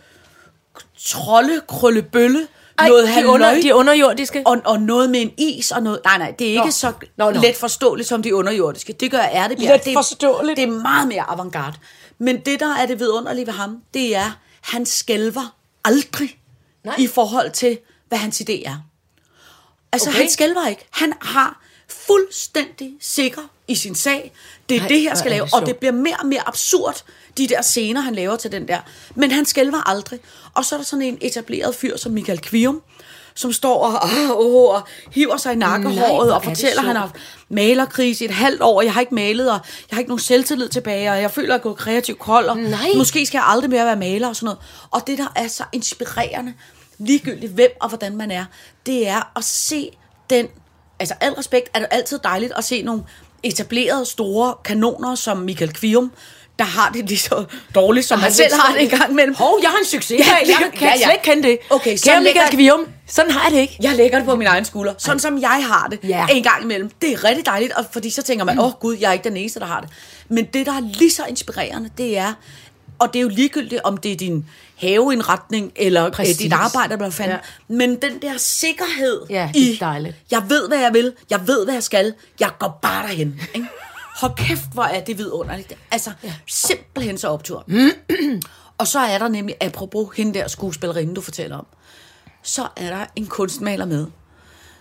trolde, krøllebølle, Ej, noget
de, under,
halløj,
de underjordiske.
og, og noget med en is og noget... Nej, nej, det er ikke
Nå.
nå. så
Nå,
nå,
nå.
nå. let forståeligt som de underjordiske. Det gør Ertebjerg.
Let
Det er-
forståeligt.
Det er meget mere avantgarde. Men det, der er det vidunderlige ved ham, det er, han skælver aldrig nej. i forhold til, hvad hans idé er. Altså,
Okay.
okay. han skælver ikke. Han har fuldstændig sikker i sin sag. Det er
Nej,
det, jeg
hvor
skal
er
lave.
det
Og
sjovt.
det bliver mere og mere absurd, de der scener, han laver til den der. Men han skælver aldrig. Og så er der sådan en etableret fyr som Michael Kvium, som står og, og, og, og hiver sig i nakkehåret
hvor er
og
det
fortæller, at han har
sjovt.
haft malerkrise i et halvt år, og jeg har ikke malet, og jeg har ikke nogen selvtillid tilbage, og jeg føler, at jeg er gået kreativt kold, og
Nej.
måske skal jeg aldrig mere være maler og sådan noget. Og det, der er så inspirerende, ligegyldigt hvem og hvordan man er, det er at se den, altså al respekt, er det altid dejligt at se nogle etablerede store kanoner som Michael Kvium, der har det lige så dårligt, som han selv har det en gang imellem.
Hov, jeg har en succes.
Ja,
jeg
ja,
kan
ja, ja.
slet ikke kende det.
Okay, så
Kære Michael
lækker-
Kvium, sådan har jeg det ikke.
jeg lægger det på min egen skulder, sådan som jeg har det
Ja. Mm.
en gang imellem. Det er rigtig dejligt, og fordi så tænker man, åh oh, gud, jeg er ikke den eneste, der har det. Men det, der er lige så inspirerende, det er, og det er jo ligegyldigt, om det er din haveindretning, eller øh,
Præcis.
dit arbejde, eller hvad fanden. Ja. Men den der sikkerhed
Ja, det er
i,
dejligt.
jeg ved, hvad jeg vil, jeg ved, hvad jeg skal, jeg går bare derhen. Ikke? Hold kæft, hvor er det vidunderligt. Altså, ja. simpelthen så optur.
Mm.
og så er der nemlig, apropos hende der skuespillerinde, du fortæller om, så er der en kunstmaler med.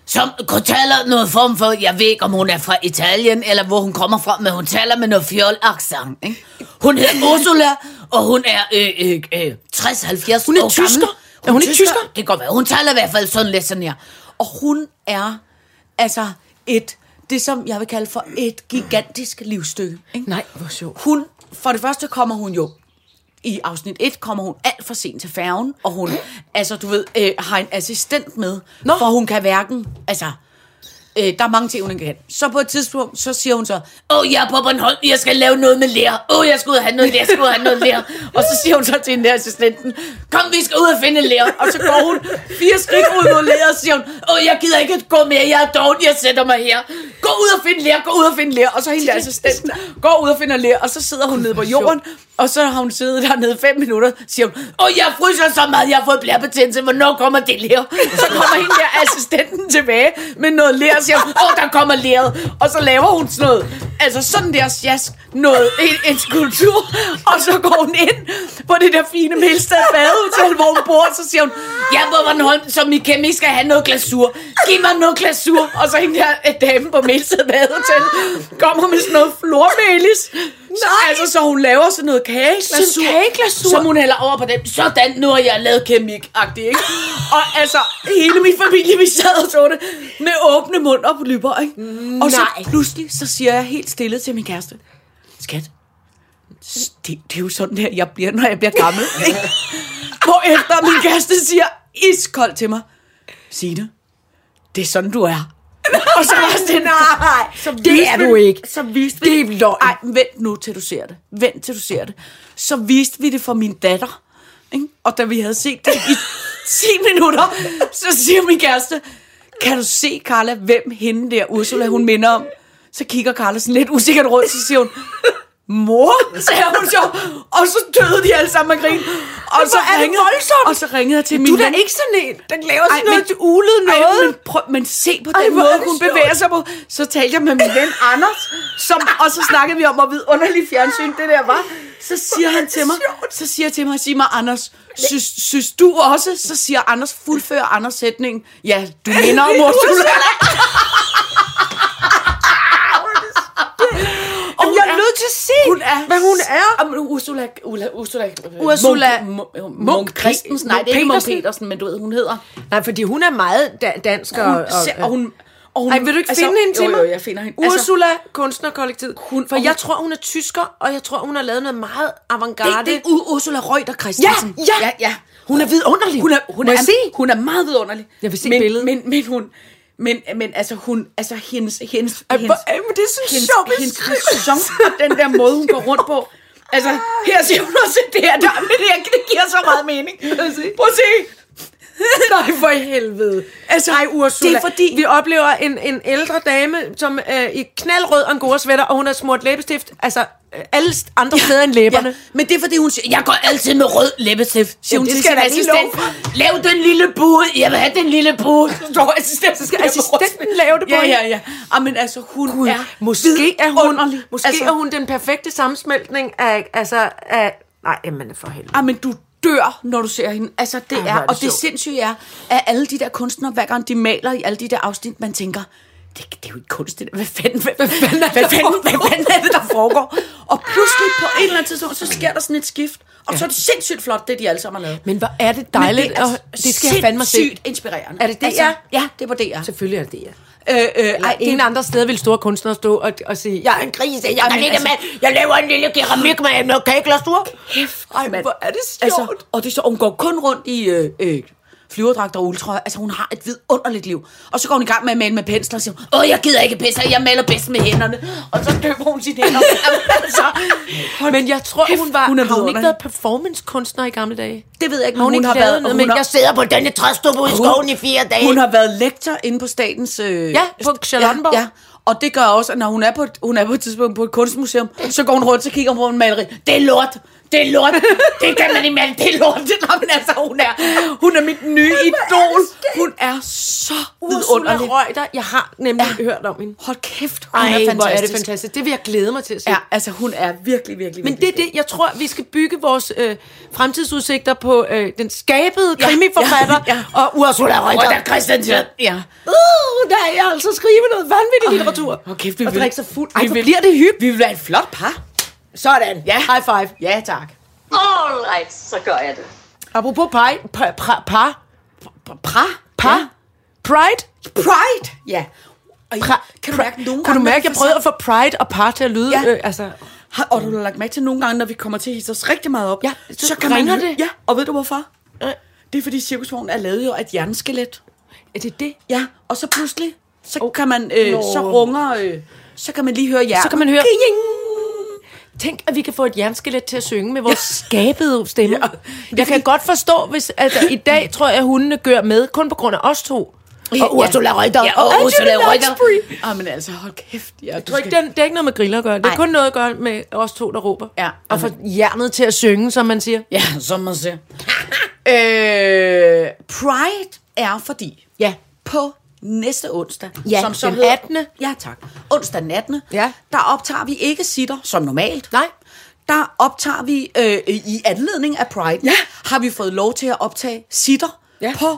Som kun taler noget form for, jeg ved ikke, om hun er fra Italien, eller hvor hun kommer fra, men hun taler med noget fjol accent, ikke? Hun hedder Ursula, og hun er øh, øh, øh, 60-70
Hun er
år
tysker?
Gammel.
Er hun ikke tysker?
Det kan godt være. Hun taler i hvert fald sådan lidt sådan her. Og hun er altså et, det som jeg vil kalde for et gigantisk livsstykke. Ikke?
Nej, hvor sjovt.
Hun, for det første kommer hun jo i afsnit 1 kommer hun alt for sent til færgen, og hun, altså du ved, øh, har en assistent med, Nå. for hun kan hverken, altså, øh, der er mange ting, hun ikke kan. Så på et tidspunkt, så siger hun så, åh, oh, jeg er på Bornholm, jeg skal lave noget med lær. Åh, oh, jeg skal ud og have noget lær, jeg skal ud og have noget lær. Og så siger hun så til hende der assistenten, kom, vi skal ud og finde lær. Og så går hun fire skridt ud mod lær, og siger hun, åh, oh, jeg gider ikke at gå mere, jeg er doven, jeg sætter mig her. Gå ud og finde lær, gå ud og finde lær. Og så hende der assistenten går ud og finder lær, og så sidder hun nede på jorden, og så har hun siddet dernede fem minutter, siger hun, åh, jeg fryser så meget, jeg har fået blærebetændelse, hvornår kommer det lær? Så kommer hende der assistenten tilbage med noget lær, og siger hun, åh, der kommer læret. Og så laver hun sådan noget, altså sådan der sjask, noget, en, en skulptur, og så går hun ind på det der fine Melsted badehotel, hvor hun bor, og så siger hun, jeg er på Bornholm, som I kæmpe skal have noget glasur. Giv mig noget glasur. Og så hende der øh, dame på Melsted badehotel, kommer med sådan noget flormelis. Så, altså, så hun laver sådan noget kageglasur.
Sådan kageglasur?
Som hun hælder over på den. Sådan, nu har jeg lavet kemik-agtigt, ikke? Og altså, hele min familie, vi sad og så det med åbne mund og lyber, ikke? Og så pludselig, så siger jeg helt stille til min kæreste, skat, s- det, det er jo sådan her, jeg bliver, når jeg bliver gammel, ikke? Hvorefter min kæreste siger iskold til mig, Signe, det er sådan, du er. Og så var jeg sådan, nej, så
det er du ikke.
Så viste vi
Det er løgn.
Ej, vent nu, til du ser det. Vent, til du ser det. Så viste vi det for min datter. Ikke? Og da vi havde set det i 10 minutter, så siger min kæreste, kan du se, Carla, hvem hende der, Ursula, hun minder om? Så kigger Carla sådan lidt usikkert rundt, så siger hun, mor, sagde hun så. Og så døde de alle sammen af grin. Og så,
er det
ringede,
voldsomt.
og så ringede jeg til min
Du er da
ven.
ikke sådan en, der laver sådan
Ej,
noget,
men-
du ulede noget.
Ej, men, prøv, men se på
Ej,
den
hvor
måde,
er det
hun
sjovt.
bevæger sig på. Så talte jeg med min ven Anders, som, og så snakkede vi om, hvor vidunderligt fjernsyn det der var. Så siger han til mig, så siger jeg til mig, sig mig, Anders, synes, synes du også? Så siger Anders, fuldfører Anders sætningen, ja, du minder om Ursula. Og hun
jeg er
er-
nødt til at se,
hun er
hvad hun er.
Jamen, Ursula, Ulla, Ursula,
Ursula
Munk- Munk-
Munk Christensen, nej, det er ikke Munk
Petersen.
Petersen, men du ved, hun hedder.
Nej, fordi hun er meget da- dansk og...
Hun,
og,
og, og, hun, og hun,
Ej, vil du ikke
altså,
finde hende til
jo,
mig?
Jo, jeg finder hende. Altså-
Ursula, kunstnerkollektivet. Hun, for
og
jeg
hun-
tror, hun er tysker, og jeg tror, hun har lavet noget meget avantgarde.
Det, det er U- Ursula Reuter Christensen.
Ja, ja.
ja, ja.
Hun er vidunderlig.
Hun er, hun
Må
er,
jeg se?
hun er meget vidunderlig.
Jeg vil se
men,
billedet.
Men, men hun... Men, men altså, hun, altså hendes, hendes,
Ej,
hendes,
hvor- ej, men det er sådan en
hendes,
sjov
hendes
beskrivelse.
ræson og den der måde, hun går rundt på. Altså, her siger hun også det her, der, men det, her, det giver så meget mening. Prøv at se.
Nej, for helvede.
Altså, Ej,
Ursula. Det er fordi... Vi oplever en, en ældre dame, som øh, i knaldrød angora-sweater, og hun har smurt læbestift, altså øh, alle st- andre steder end læberne.
Ja, men det er fordi, hun siger, jeg går altid med rød læbestift, siger
Ja,
hun
det
til
skal
sin
jeg da lige
assistent. Lav den lille bude, jeg vil have den lille bude. Så står assistenten, så skal
assistenten lave det på
ja,
hende.
ja, ja. Ah, men altså, hun Gud, er
Måske er hun,
vidunderlig.
måske altså, er hun den perfekte sammensmeltning af, altså, af, nej, jamen for helvede.
Ah, men du dør, når du ser hende. Altså, det
hvor
er,
er det
og det
sjovt.
sindssyge er, at alle de der kunstnere, hver gang de maler i alle de der afsnit, man tænker, det, det er jo ikke kunst, det der. Hvad fanden, hvad, hvad fanden, er, hvad, fanden, hvad fanden er det, der foregår? Og pludselig på et eller andet tidspunkt, så sker der sådan et skift. Og ja. så er det sindssygt flot, det de alle sammen har lavet.
Men hvor er det dejligt,
Men det er
og det skal jeg fandme se.
sindssygt inspirerende. Altså,
Er det DR?
ja, det er på DR. Øh,
Selvfølgelig er det det, ja.
øh,
Ej,
ej,
ingen andre steder vil store kunstnere stå og, og sige, jeg er en grise, jeg er en
Jamen,
lille
altså-
mand, jeg laver en lille keramik med noget kageglasur.
Kæft, Ej, mand.
hvor er det sjovt.
Altså, og det er så, hun går kun rundt i øh, øh, flyverdragter og ultrøjer. Altså, hun har et vidunderligt liv. Og så går hun i gang med at male med pensler og siger, hun, åh, jeg gider ikke pensler, jeg maler bedst med hænderne. Og så døber hun sine hænder. Jamen, altså,
Men jeg tror,
kæft,
hun var,
hun er
har hun ikke
vidunderlig.
været performancekunstner i gamle dage?
det ved jeg ikke,
Har
men
hun,
hun,
ikke
har
lavet
været...
noget
hun
med,
har,
jeg sidder på denne træstuppe ude i skoven i fire dage?
hun har været lektor inde på statens... Øh,
Ja, på Charlottenborg.
Ja, ja. Og det gør også, at når hun er, på et, hun er på et tidspunkt på et kunstmuseum, så går hun rundt, så kigger hun på en maleri. Det er lort. det er lort. Det kan man ikke mærke. Det er lort. Nå, men altså, hun er, hun er mit nye idol. Hun er så
Ursula
vidunderlig.
Reuter, jeg har nemlig ja. hørt om hende.
Hold kæft, hun
Ej,
er fantastisk.
hvor er det fantastisk. Det vil jeg glæde mig til at se.
Ja, altså hun er virkelig, virkelig,
Men det er det, jeg tror, vi skal bygge vores øh, fremtidsudsigter på øh, den skabede krimiforfatter ja, ja, ja. og Ursula Reuter.
Reuter Christensen. Ja.
Uh, der er jeg altså skrive noget vanvittig litteratur.
Hold kæft, vi
og
vil-
drikke sig fuld.
Ej,
Ej,
hvor
vi
bliver
bliver det hyggeligt.
Vi vil være et flot par.
Sådan. Ja. High five.
Ja, tak.
All right, så gør jeg det.
Apropos pej, pa, pra, par,
Pra.
par, pride.
Pride. Ja. Og
Pra,
kan du
pra-
mærke, nogle
Kunne du
gange,
mærke, jeg
når vi
prøvede at få pride og par til at lyde?
Ja.
Øh, altså,
Har, og du har lagt mærke til nogle gange, når vi kommer til at hisse os rigtig meget op,
Ja, så ringer det.
Ja, og ved du hvorfor? Det er fordi cirkusvognen er lavet jo af et jernskelet.
er det det?
Ja, og så pludselig, så oh. kan man, øh,
Nå.
så runger, øh, så kan man lige høre jer.
Så kan man høre... Tænk, at vi kan få et jernskelet til at synge med vores skabede stemme. Ja. Jeg kan godt forstå, hvis altså, i dag tror jeg, at hundene gør med, kun på grund af os to.
Og Ursula Reuter.
Ja, og Ursula Reuter.
Ah, men altså, hold kæft. Ja,
Jeg tror ikke, det, det er ikke noget med griller at gøre. Det er
Nej.
kun noget at gøre med os to, der råber.
Ja.
Og få hjernet til at synge, som man siger.
Ja, som man siger. øh, Pride er fordi
Ja.
på næste onsdag,
Ja,
som så
den
hedder-
18..
Ja, tak. Onsdag den 18.
Ja.
Der optager vi ikke sitter som normalt.
Nej.
Der optager vi øh, i anledning af Pride. Ja. Har vi fået lov til at optage sitter
Ja.
på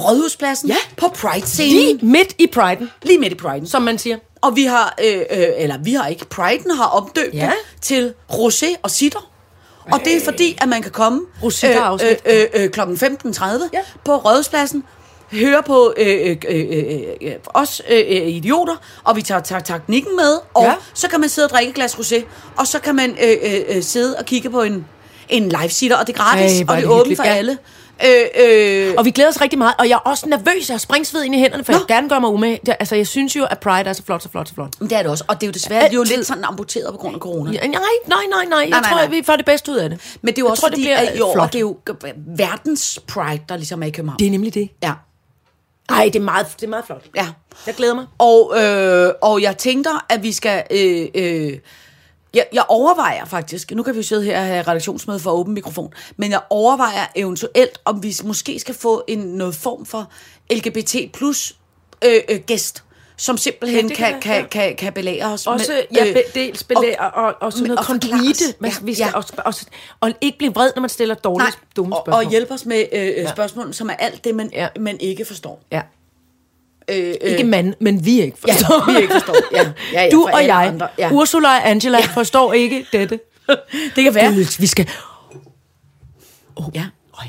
Rådhuspladsen,
Ja.
på Pride-scenen,
Lige midt i priden,
lige midt i Pride'en.
som man siger.
Og vi har, øh, øh, eller vi har ikke, Pride'en har omdøbt
Ja.
ja. til Rosé og Sitter. Og det er fordi, at man kan komme
Rosita-afsnit.
øh, øh, øh, kl. 15.30 ja. på Rådhuspladsen, høre på øh, øh, øh, øh, os øh, øh, idioter, og vi tager, tager teknikken med, og
Ja.
ja. så kan man sidde og drikke et glas rosé, og så kan man øh, øh, øh, sidde og kigge på en, en live-sitter, og det er
Ej,
gratis, Ej,
hvor
og
er
det
det
er åbent
hyggeligt.
for
Ja.
alle. Øh, øh,
Og vi glæder os rigtig meget, og jeg er også nervøs. Jeg har springsved ind i hænderne, for Nå. jeg vil gerne gøre mig umage. Det- Altså, jeg synes jo, at Pride er så flot, så flot, så flot.
men det er det også, og det er jo desværre, det er jo
Altid.
lidt sådan amputeret på grund af corona.
Ja, Nej, nej, nej, nej. Jeg
Nej, nej,
tror,
nej.
at vi får det bedste ud af det.
Men det er jo
Jeg
også
tror,
tror,
det
fordi,
bliver,
at i år,
flot.
og det er jo g- verdens pride, der ligesom er i København.
Det er nemlig det.
Ja,
Ej, det er meget, det er meget flot.
ja.
Jeg glæder mig.
Og, øh, og jeg tænker, at vi skal... Øh, øh, jeg, jeg overvejer faktisk, nu kan vi jo sidde her og have redaktionsmøde for åben mikrofon, men jeg overvejer eventuelt, om vi måske skal få en noget form for LGBT plus øh, øh, gæst, som simpelthen
det
ja,
kan
kan, kan,
være,
kan, kan, kan belære os.
Også,
med,
ja, be, dels belærer og, og, og sådan
men-
noget
øh, og forklare
konduite.
os.
Man-
Ja,
vi skal
ja.
også- også- Og ikke blive vred, når man stiller dårlige,
Nej,
Nej. dumme
og,
spørgsmål.
og hjælpe os med øh, ja. spørgsmål, som er alt det, man,
Ja.
ja. man ikke forstår.
Ja.
Øh, øh,
Ikke mand, men vi ikke forstår.
vi ikke forstår. Ja, ja, ja,
du
for
og
alle
jeg,
andre,
ja.
ja.
Ursula og Angela, ja. forstår ikke dette.
Det kan være.
Gud, vi skal... Oh,
Ja.
Øj,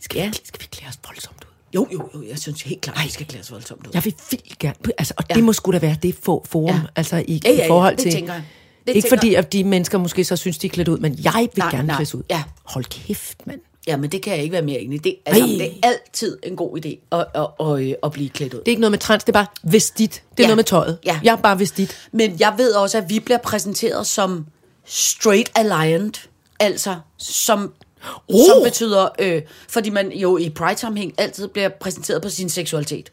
skal, ja. vi, skal vi klæde os voldsomt ud?
Jo, jo, jo, jeg synes helt klart, at vi skal klæde os voldsomt ud.
Jeg vil vildt gerne... Altså, og ja. det må sgu da være det for, forum, ja.
Ja.
altså i,
Ja, ja, ja,
i forhold
det
til...
tænker jeg.
Det
Det
ikke
tænker
fordi, at de mennesker måske så synes, de er klædt ud, men jeg vil
Nej,
gerne
nej.
klædes ud.
Ja.
Hold kæft, mand.
Ja, men det kan jeg ikke være mere enig i. Det, altså,
Ej.
det er altid en god idé at, at, at, øh, at, at blive klædt ud.
Det er ikke noget med trans, det er bare vestit. Det er ja.
Ja.
noget med tøjet.
Ja.
Jeg er bare vestit.
Men jeg ved også, at vi bliver præsenteret som straight aligned. Altså, som, oh. som betyder... Øh, fordi man jo i pride-sammenhæng altid bliver præsenteret på sin seksualitet.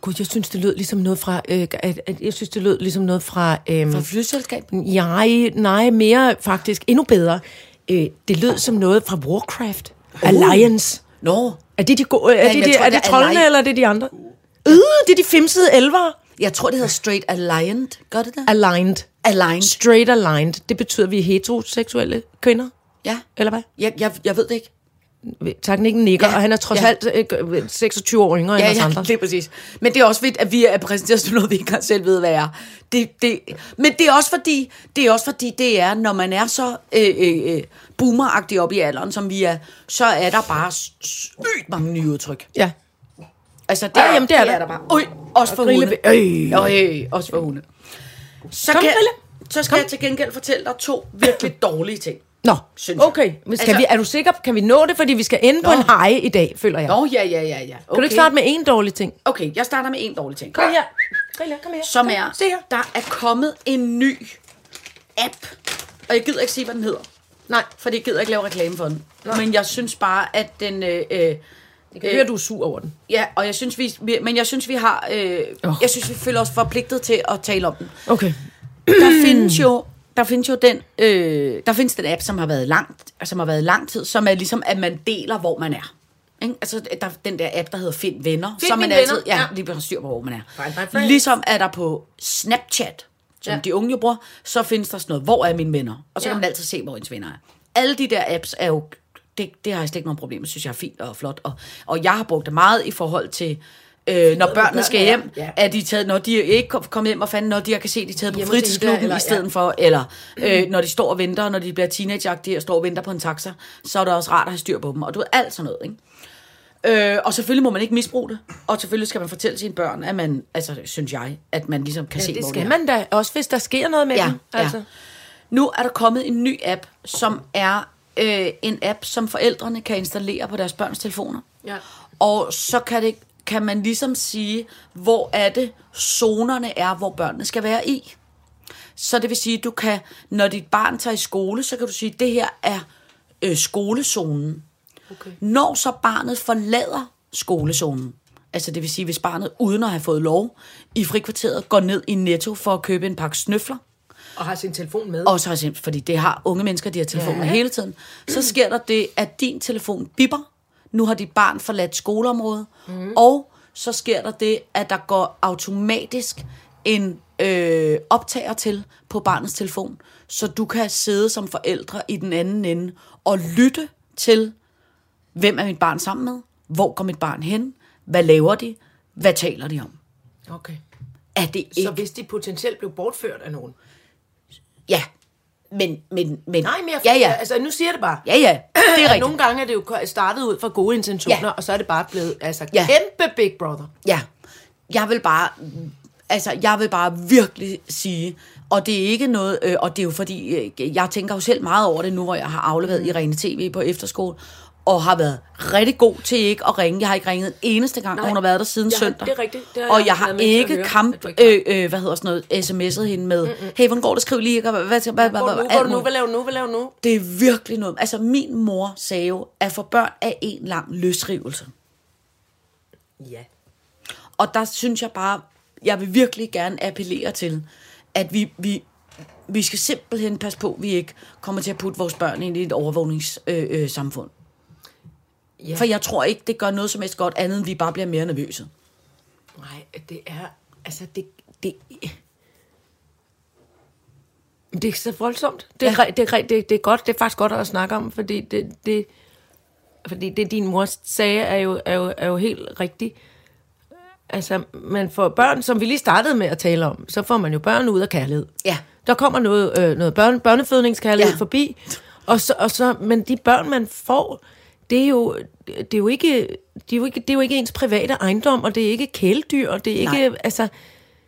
Gud, jeg synes, det lød ligesom noget fra... Øh, at, at, jeg synes, det lød ligesom noget fra... Øh,
Fra flyselskabet.
Nej, nej, mere faktisk. Endnu bedre. Øh, det lød som noget fra Warcraft. Alliance.
Nå,
Er det, de gode, er, det,
jeg
de,
tror,
er
det
det
er
troldene,
alliance.
eller er det de andre? Øh, det er de femsede elvere.
jeg tror, det hedder straight aligned. Gør det det?
Aligned.
Aligned.
Straight aligned. Det betyder, at vi er heteroseksuelle kvinder.
Ja,
Eller hvad?
jeg, jeg, jeg ved det ikke.
Teknikken nikker, ja,
Ja,
og han er trods ja.
ja.
alt øh, 26 år yngre
Ja,
end os
ja,
andre.
det er præcis. Men det er også fedt, at vi er præsenteret som noget, vi ikke engang selv ved, hvad er. Det, det, men det er, også fordi, det er også fordi, det er, når man er så øh, øh, øh, boomeragtig op i alderen, som vi er, så er der bare sygt mange nye udtryk.
Ja.
Altså, det,
Ja, Ah, jamen, det er der.
bare. Øj, også for hunde.
Grille- Øj.
Øj, også for hunde. Så,
Kom,
kan,
Grille.
så skal jeg til gengæld fortælle dig to virkelig dårlige ting.
Nå,
Synes jeg.
okay. Men skal
Altså-
vi, er du sikker? Kan vi nå det? Fordi vi skal ende Nå. på en hej i dag, føler jeg.
Nå, ja, ja, ja, ja. Okay.
Kan du ikke starte med en dårlig ting?
Okay, jeg starter med en dårlig ting.
Kom her. Kom her, kom her.
som er,
Se her.
der er kommet en ny app, og jeg gider ikke sige, hvad den hedder. Nej. For det gider ikke lave reklame for den. Nej. Men jeg synes bare, at den... Øh, øh,
Jeg kan høre, du er sur over den.
ja, og jeg synes, vi, vi, men jeg synes, vi har... Øh,
Åh.
oh. Jeg synes, vi føler os forpligtet til at tale om den.
Okay.
Der findes jo der findes jo den, øh, der findes den app, som har været langt, som har været lang tid, som er ligesom, at man deler, hvor man er. Ikke? Altså, der er den der app, der hedder Find Venner,
Find
som man
mine venner,
altid ja,
ja.
lige har styr på, hvor man er.
Find my friends.
Ligesom er der på Snapchat, som ja.
Ja.
de unge jo bruger, så findes der sådan noget, hvor er mine venner? Og så ja.
Ja.
kan man altid se, hvor ens venner er. Alle de der apps er jo, det, det har jeg slet ikke nogen problemer med, synes jeg er fint og flot. Og, og jeg har brugt det meget i forhold til, øh, når børnene skal
børnene er.
hjem,
Ja.
er de taget, når de ikke kom- kommet hjem og fandt, når de jeg kan se, de er taget på
Hjemme hos Ida,
fritidsklubben
eller- Mm.
i stedet ja. for, eller øh, når de står og venter, når de bliver teenageagtige og står og venter på en taxa, så er det også rart at have styr på dem, og du ved, alt sådan noget, ikke? Øh, og selvfølgelig må man ikke misbruge det, og selvfølgelig skal man fortælle sine børn, at man, altså synes jeg, at man ligesom kan ja, se,
Det
hvor
skal
det er.
man da, også hvis der sker noget med altså.
Ja,
dem.
ja. Nu er der kommet en ny app, som er øh, en app, som forældrene kan installere på deres børns telefoner.
Ja.
Og så kan, det, kan man ligesom sige, hvor er det, zonerne er, hvor børnene skal være i. Så det vil sige, du kan, når dit barn tager i skole, så kan du sige, det her er øh, skolezonen. Okay. Når så barnet forlader skolezonen, altså det vil sige, hvis barnet uden at have fået lov i frikvarteret, går ned i Netto for at købe en pakke snøfler,
Og har sin telefon med.
og så har sim- fordi det har unge mennesker, de har telefoner ja. hele tiden. Så sker der det, at din telefon bipper. Nu har dit barn forladt skoleområdet.
Mhm.
Mm. Og så sker der det, at der går automatisk en øh, optager til på barnets telefon. Så du kan sidde som forældre i den anden ende og lytte til, hvem er mit barn sammen med? Hvor går mit barn hen? Hvad laver de? Hvad taler de om?
Okay.
Er det ikke?
Så hvis de potentielt blev bortført af nogen.
Ja. Men, men, men...
Nej, men jeg,
ja, ja.
altså, nu siger jeg det bare.
Ja, ja. Det er
At
rigtigt.
nogle gange er det jo startet ud fra gode intentioner,
Ja.
og så er det bare blevet altså,
Ja.
kæmpe Big Brother.
Ja, jeg vil bare, altså jeg vil bare virkelig sige, og det er ikke noget, øh, og det er jo fordi, øh, jeg tænker jo selv meget over det nu, hvor jeg har afleveret
Mm.
Irene TV på efterskole, og har været rigtig god til ikke at ringe. Jeg har ikke ringet en eneste gang, Nej, hun har været der siden
Jeg har-
søndag.
det er rigtigt. Det har
og
jeg
jeg har
været med til at
ikke
høre, at
kamp,
du
øh,
ikke
øh, hvad hedder sådan noget, sms'et hende med, Mm-mm. hey, hvordan går det, skriv lige, hvad, hvad, hvad, hvad, hvad,
Hvor er du
hvad,
nu, hvor er du
alt
nu,
muligt."
hvad laver du nu, hvad laver du nu?
Det er virkelig noget. Altså, min mor sagde jo, at for børn er en lang løsrivelse.
Ja.
Og der synes jeg bare, jeg vil virkelig gerne appellere til, at vi, vi, vi skal simpelthen passe på, at vi ikke kommer til at putte vores børn ind i et overvågningssamfund. Øh, øh, samfund.
Ja.
For jeg tror ikke, det gør noget som helst godt andet, end vi bare bliver mere nervøse.
Nej, det er... Altså, det... det det er så voldsomt. Det er, ja. det, er, det, det er godt. Det er faktisk godt at snakke om, fordi det, det, fordi det din mor sagde, er jo, er jo, er jo helt rigtigt. Altså, man får børn, som vi lige startede med at tale om, så får man jo børn ud af kærlighed.
Ja.
Der kommer noget, øh, noget børne, børnefødningskærlighed
Ja.
ja. forbi, og så, og så, men de børn, man får, det er jo, det er jo ikke... Det er, jo ikke, det er jo ikke ens private ejendom, og det er ikke kæledyr, og det er
Nej.
ikke... Altså,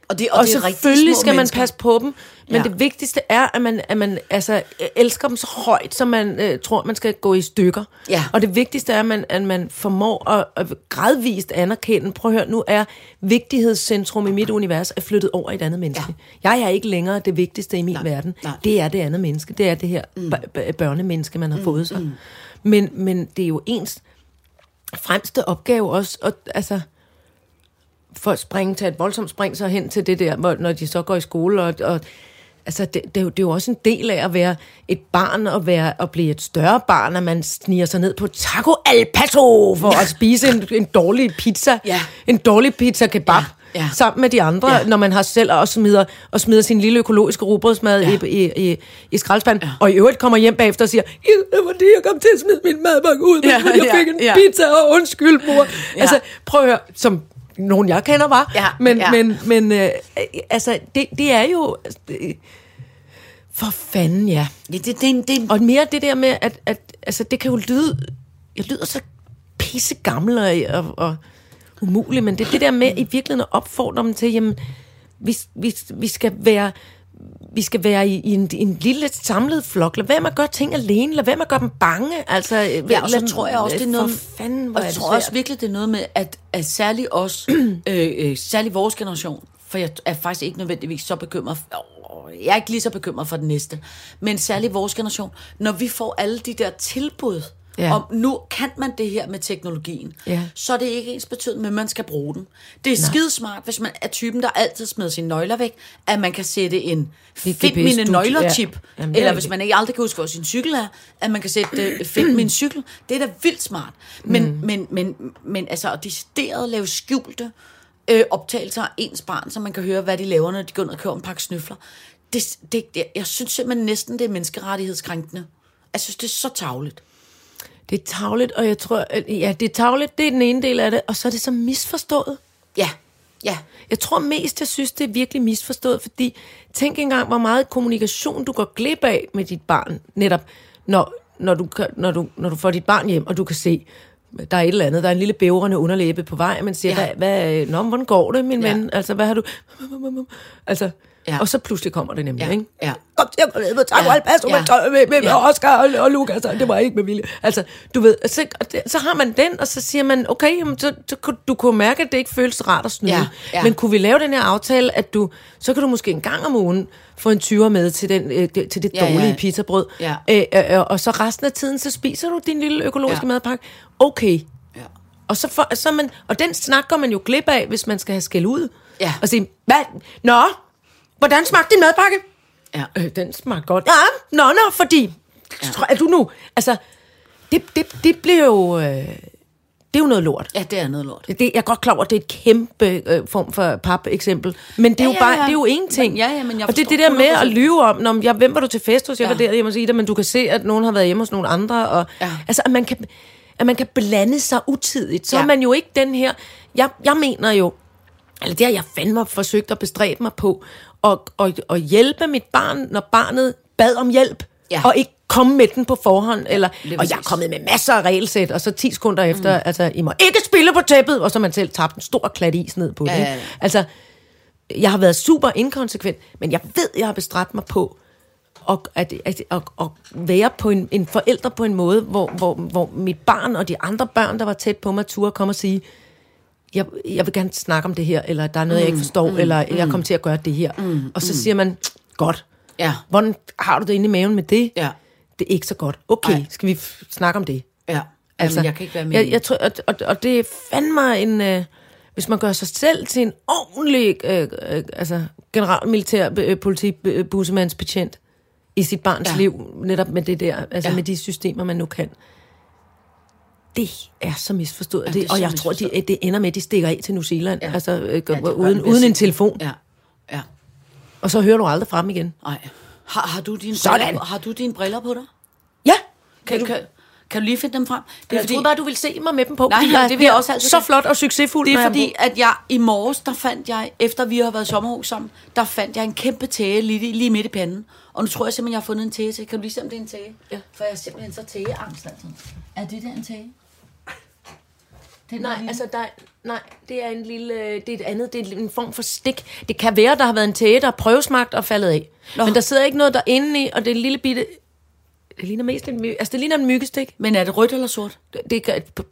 Og, det,
og, og selvfølgelig skal man mennesker. passe på dem, men
Ja.
ja. det vigtigste er, at man, at man altså, elsker dem så højt, som man øh, tror, man skal gå i stykker.
Ja.
Og det vigtigste er, at man, at man formår at, at gradvist anerkende, prøv at høre, nu er vigtighedscentrum i mit univers er flyttet over i et andet menneske. Ja. Jeg er ikke længere det vigtigste i min Nej. verden.
Nej.
Det er det andet menneske. Det er det her mm. børnemenneske, man har mm. fået sig. Mm. Men, men det er jo ens fremste opgave også, og, altså for at springe, tage et voldsomt spring så hen til det der, hvor, når de så går i skole, og, og altså, det, det, er jo, det er jo også en del af at være et barn, og være, at blive et større barn, at man sniger sig ned på Taco Al Paso for at spise en, en dårlig pizza,
Ja.
en dårlig pizza kebab,
Ja, ja.
sammen med de andre,
Ja.
ja. når man har selv og smider, og smider sin lille økologiske rugbrødsmad
Ja.
ja. i, i, i, i skraldespanden, ja. og i øvrigt kommer hjem bagefter og siger, "Ja, det var det, jeg kom til at smide min madpakke ud,
Ja,
ja, jeg
ja,
fik en
ja.
ja. pizza, og undskyld, mor. Ja. Altså, prøv at høre, som nogen jeg kender var,
Ja,
men,
ja.
men, men øh, altså, det, det er jo... Øh, for fanden, ja.
Ja, det, det, er en- det, er en-
Og mere det der med, at, at altså, det kan jo lyde... Jeg lyder så pisse gammel og, og, og umulig, men det er det der med i virkeligheden at opfordre dem til, jamen, vi, vi, vi skal være vi skal være i, i en, i en lille samlet flok. Lad være med at gøre ting alene. Lad være med at gøre dem bange. Altså,
Ja, og så tror jeg også, det er noget...
Øh, For fanden, hvor
og
er
jeg
det
tror også
svært.
virkelig, det er noget med, at, at særlig os, øh, øh, særlig vores generation, for jeg er faktisk ikke nødvendigvis så bekymret, åh, jeg er ikke lige så bekymret for den næste, men særlig vores generation, når vi får alle de der tilbud
Ja.
om nu kan man det her med teknologien,
Ja.
så er det ikke ens betydende, men man skal bruge den. Det er skidesmart, hvis man er typen, der altid smider sine nøgler væk, at man kan sætte en find
GPS
mine
studie.
nøgler-chip,
Ja.
ja.
Jamen, det er
eller
rigtigt.
hvis man ikke aldrig kan huske, hvor sin cykel er, at man kan sætte øh, find min cykel. Det er da vildt smart. Men, mm. men, men, men altså at decideret lave skjulte øh, optagelser af ens barn, så man kan høre, hvad de laver, når de går ned og køber en pakke snøfler. Det, det, det, jeg synes simpelthen næsten, det er menneskerettighedskrænkende. Jeg synes, det er så tavligt.
Det er tavligt, og jeg tror, at- ja, det er tavligt, det er den ene del af det, og så er det så misforstået.
Ja, ja.
Jeg tror mest, jeg synes, det er virkelig misforstået, fordi tænk engang, hvor meget kommunikation du går glip af med dit barn, netop når, når, du, kan- når, du, når du får dit barn hjem, og du kan se, der er et eller andet, der er en lille bævrende underlæbe på vej, man siger,
Ja.
ja. hvad, nå, men hvordan går det, min ja.
Ja.
ven? Altså, hvad har du? Altså, ja.
Ja.
Og så pludselig kommer det nemlig,
Ja,
ikke?
ja.
Kom til at gå ned med tak,
Ja,
ja. pas,
ja.
ja. tøj, med, med, med
Ja.
Oscar og, og Lukas, og det var ikke med vilje. Altså, du ved, så, og det- så har man den, og så siger man, okay, jamen, så, så, kunne- du kunne mærke, at det ikke føles rart at snyde. Ja,
Ja,
ja.
ja.
Men kunne vi lave den her aftale, at du, så kan du måske en gang om ugen få en 20'er med til, den, øh, det, til det
Ja, ja,
dårlige
ja.
pizzabrød,
Ja.
øh, øh, øh, og så resten af tiden, så spiser du din lille økologiske ja.
Ja.
madpakke. Okay.
Ja.
Og, så for, så er man, og den snak går man jo glip af, hvis man skal have skæld ud.
Ja.
Og sige, hvad? Nå, hvordan smagte din madpakke?
Ja.
Øh, den smagte godt. Ja, nå, nå, fordi... Ja. Er du nu... Altså, det, det, det bliver jo... Øh, det er jo noget lort.
Ja, det er noget lort.
Det, jeg er godt klar over, at det er et kæmpe øh, form for pap-eksempel. Men det er, ja, jo
Ja, ja,
bare,
ja.
det er jo én ting.
Men- ja, ja, men jeg
og det er
forstår
det der med at
100%.
lyve om, når, ja, hvem var du til fest hos? Jeg ja. var
Ja.
der hjemme hos Ida, men du kan se, at nogen har været hjemme hos nogle andre. Og, ja.
Ja.
Altså, at man, kan, at man kan blande sig utidigt. Så ja.
Ja.
er man jo ikke den her... Jeg, jeg mener jo, eller det har jeg fandme forsøgt at bestræbe mig på, og, og, og hjælpe mit barn, når barnet bad om hjælp, ja.
Ja.
og ikke komme med den på forhånd, eller,
lige
og jeg er
præcis.
kommet med masser af regelsæt, og så 10 sekunder efter, mm. altså, I må ikke spille på tæppet, og så har man selv tabt en stor klat is ned på det.
Ja,
ikke?
ja, ja.
Altså, jeg har været super inkonsekvent, men jeg ved, jeg har bestræbt mig på, og at, at, at, at være på en, en forælder på en måde, hvor, hvor, hvor mit barn og de andre børn, der var tæt på mig, turde komme og sige, jeg, jeg vil gerne snakke om det her, eller der er noget, jeg ikke forstår, mm, eller jeg kommer til at gøre det her. Mm, og så siger man, godt.
Ja.
Hvordan har du det inde i maven med det?
Ja.
Det er ikke så godt. Okay,
Ej.
skal vi f- snakke om det?
Ja. Altså, Jamen, jeg kan ikke være med.
Jeg, jeg tror, og, og, og det er fandme en... Øh, hvis man gør sig selv til en ordentlig øh, øh, altså, generalmilitær øh, politibussemandsbetjent i sit barns ja.
Ja.
liv, netop med det der, altså ja.
Ja.
med de systemer, man nu kan. Det er så misforstået. Ja, det,
det
det
er
og
så
jeg tror, det, det ender med, at de stikker af til New Zealand, ja.
Ja.
altså øh,
Ja, det gør
uden,
det
uden en
bedst.
telefon, ja.
Ja, ja.
og så hører du aldrig frem igen.
Ej. Har, har, du dine
Sådan.
briller, på- har du dine briller på dig?
Ja!
Kan, du, kan, kan du lige finde dem frem? Det
Jeg troede bare, du ville se mig med dem på.
Nej,
fordi
nej,
jeg
det vil jeg
bliver
også altid
Så
gerne.
flot og succesfuld,
Det
når
er
jeg
fordi, at jeg i morges, der fandt jeg, efter vi har været i sommerhus sammen, der fandt jeg en kæmpe tæge lige, lige midt i panden. Og nu tror jeg simpelthen, jeg har fundet en tæge til. Kan du lige se, om det er en tæge? Ja. For jeg er simpelthen så tægeangst altid. Er det der en tæge? Den
Nej,
der lille-
altså der, nej, det er en lille, øh, det er et andet, det er en form for stik. Det kan være, der har været en tæge, der er prøvesmagt og faldet af. Nå. Men der sidder ikke noget derinde i, og det er en lille bitte... Det ligner mest en myg, altså det ligner en myggestik.
Men er det rødt eller sort?
Det, det gør, p-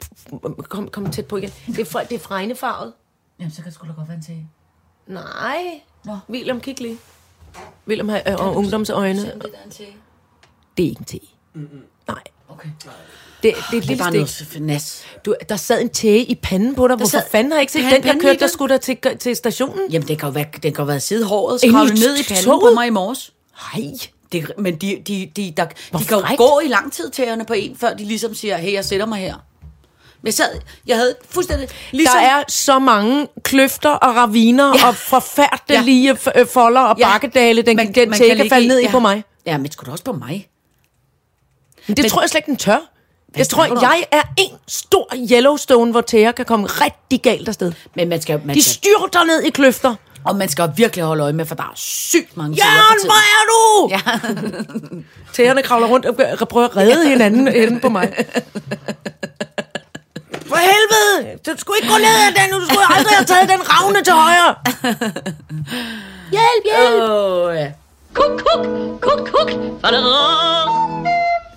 p- kom, kom tæt på igen. Det er, fra, det er fregnefarvet.
Jamen, så kan det sgu da godt være en tæge.
Nej. Nå.
Nå.
William, kig lige. William har øh, og ungdomsøjne.
Se, om det der er en tæge.
Det er ikke en te. Mm-hmm. Nej.
Okay.
Det, det er et
Det er bare
lille stik.
noget finess.
Du, der sad en tæge i panden på dig. Hvorfor
sad-
fanden har jeg ikke set
Der er en
den? Jeg
pande i
kørte der
den.
skulle der til, til stationen.
Jamen, den kan jo være, den kan jo være sidehåret, så
Inde i
kravle ned i panden på
toget?
mig i morges.
Nej.
Det, men de, de, de, der, de kan jo
frækt.
gå i lang tid tæerne på en, før de ligesom siger, hey, jeg sætter mig her. Men jeg sad, jeg havde fuldstændig... Ligesom,
Der er så mange kløfter og raviner ja.
Ja.
og forfærdelige ja. folder og ja.
Ja.
bakkedale, den, man, den
man
tække
ligge
falde ned i
ja.
på mig.
Ja, men sgu da også på mig.
Men det men, tror jeg slet ikke, den tør. Jeg tror,
snakker du om?
jeg er en stor Yellowstone, hvor tæer kan komme rigtig galt afsted.
Men man skal, man
De
skal,
styrter ned i kløfter.
og man skal virkelig holde øje med, for der er sygt mange tæer
Jørgen,
på
hvor
tiden.
er du? Ja. Tæerne kravler rundt og gør- prøver at redde hinanden inde på mig. For helvede! Du skulle ikke gå ned af den, du skulle aldrig have taget den ravne til højre.
Hjælp, hjælp!
Åh, ja.
Kuk, kuk, kuk, kuk.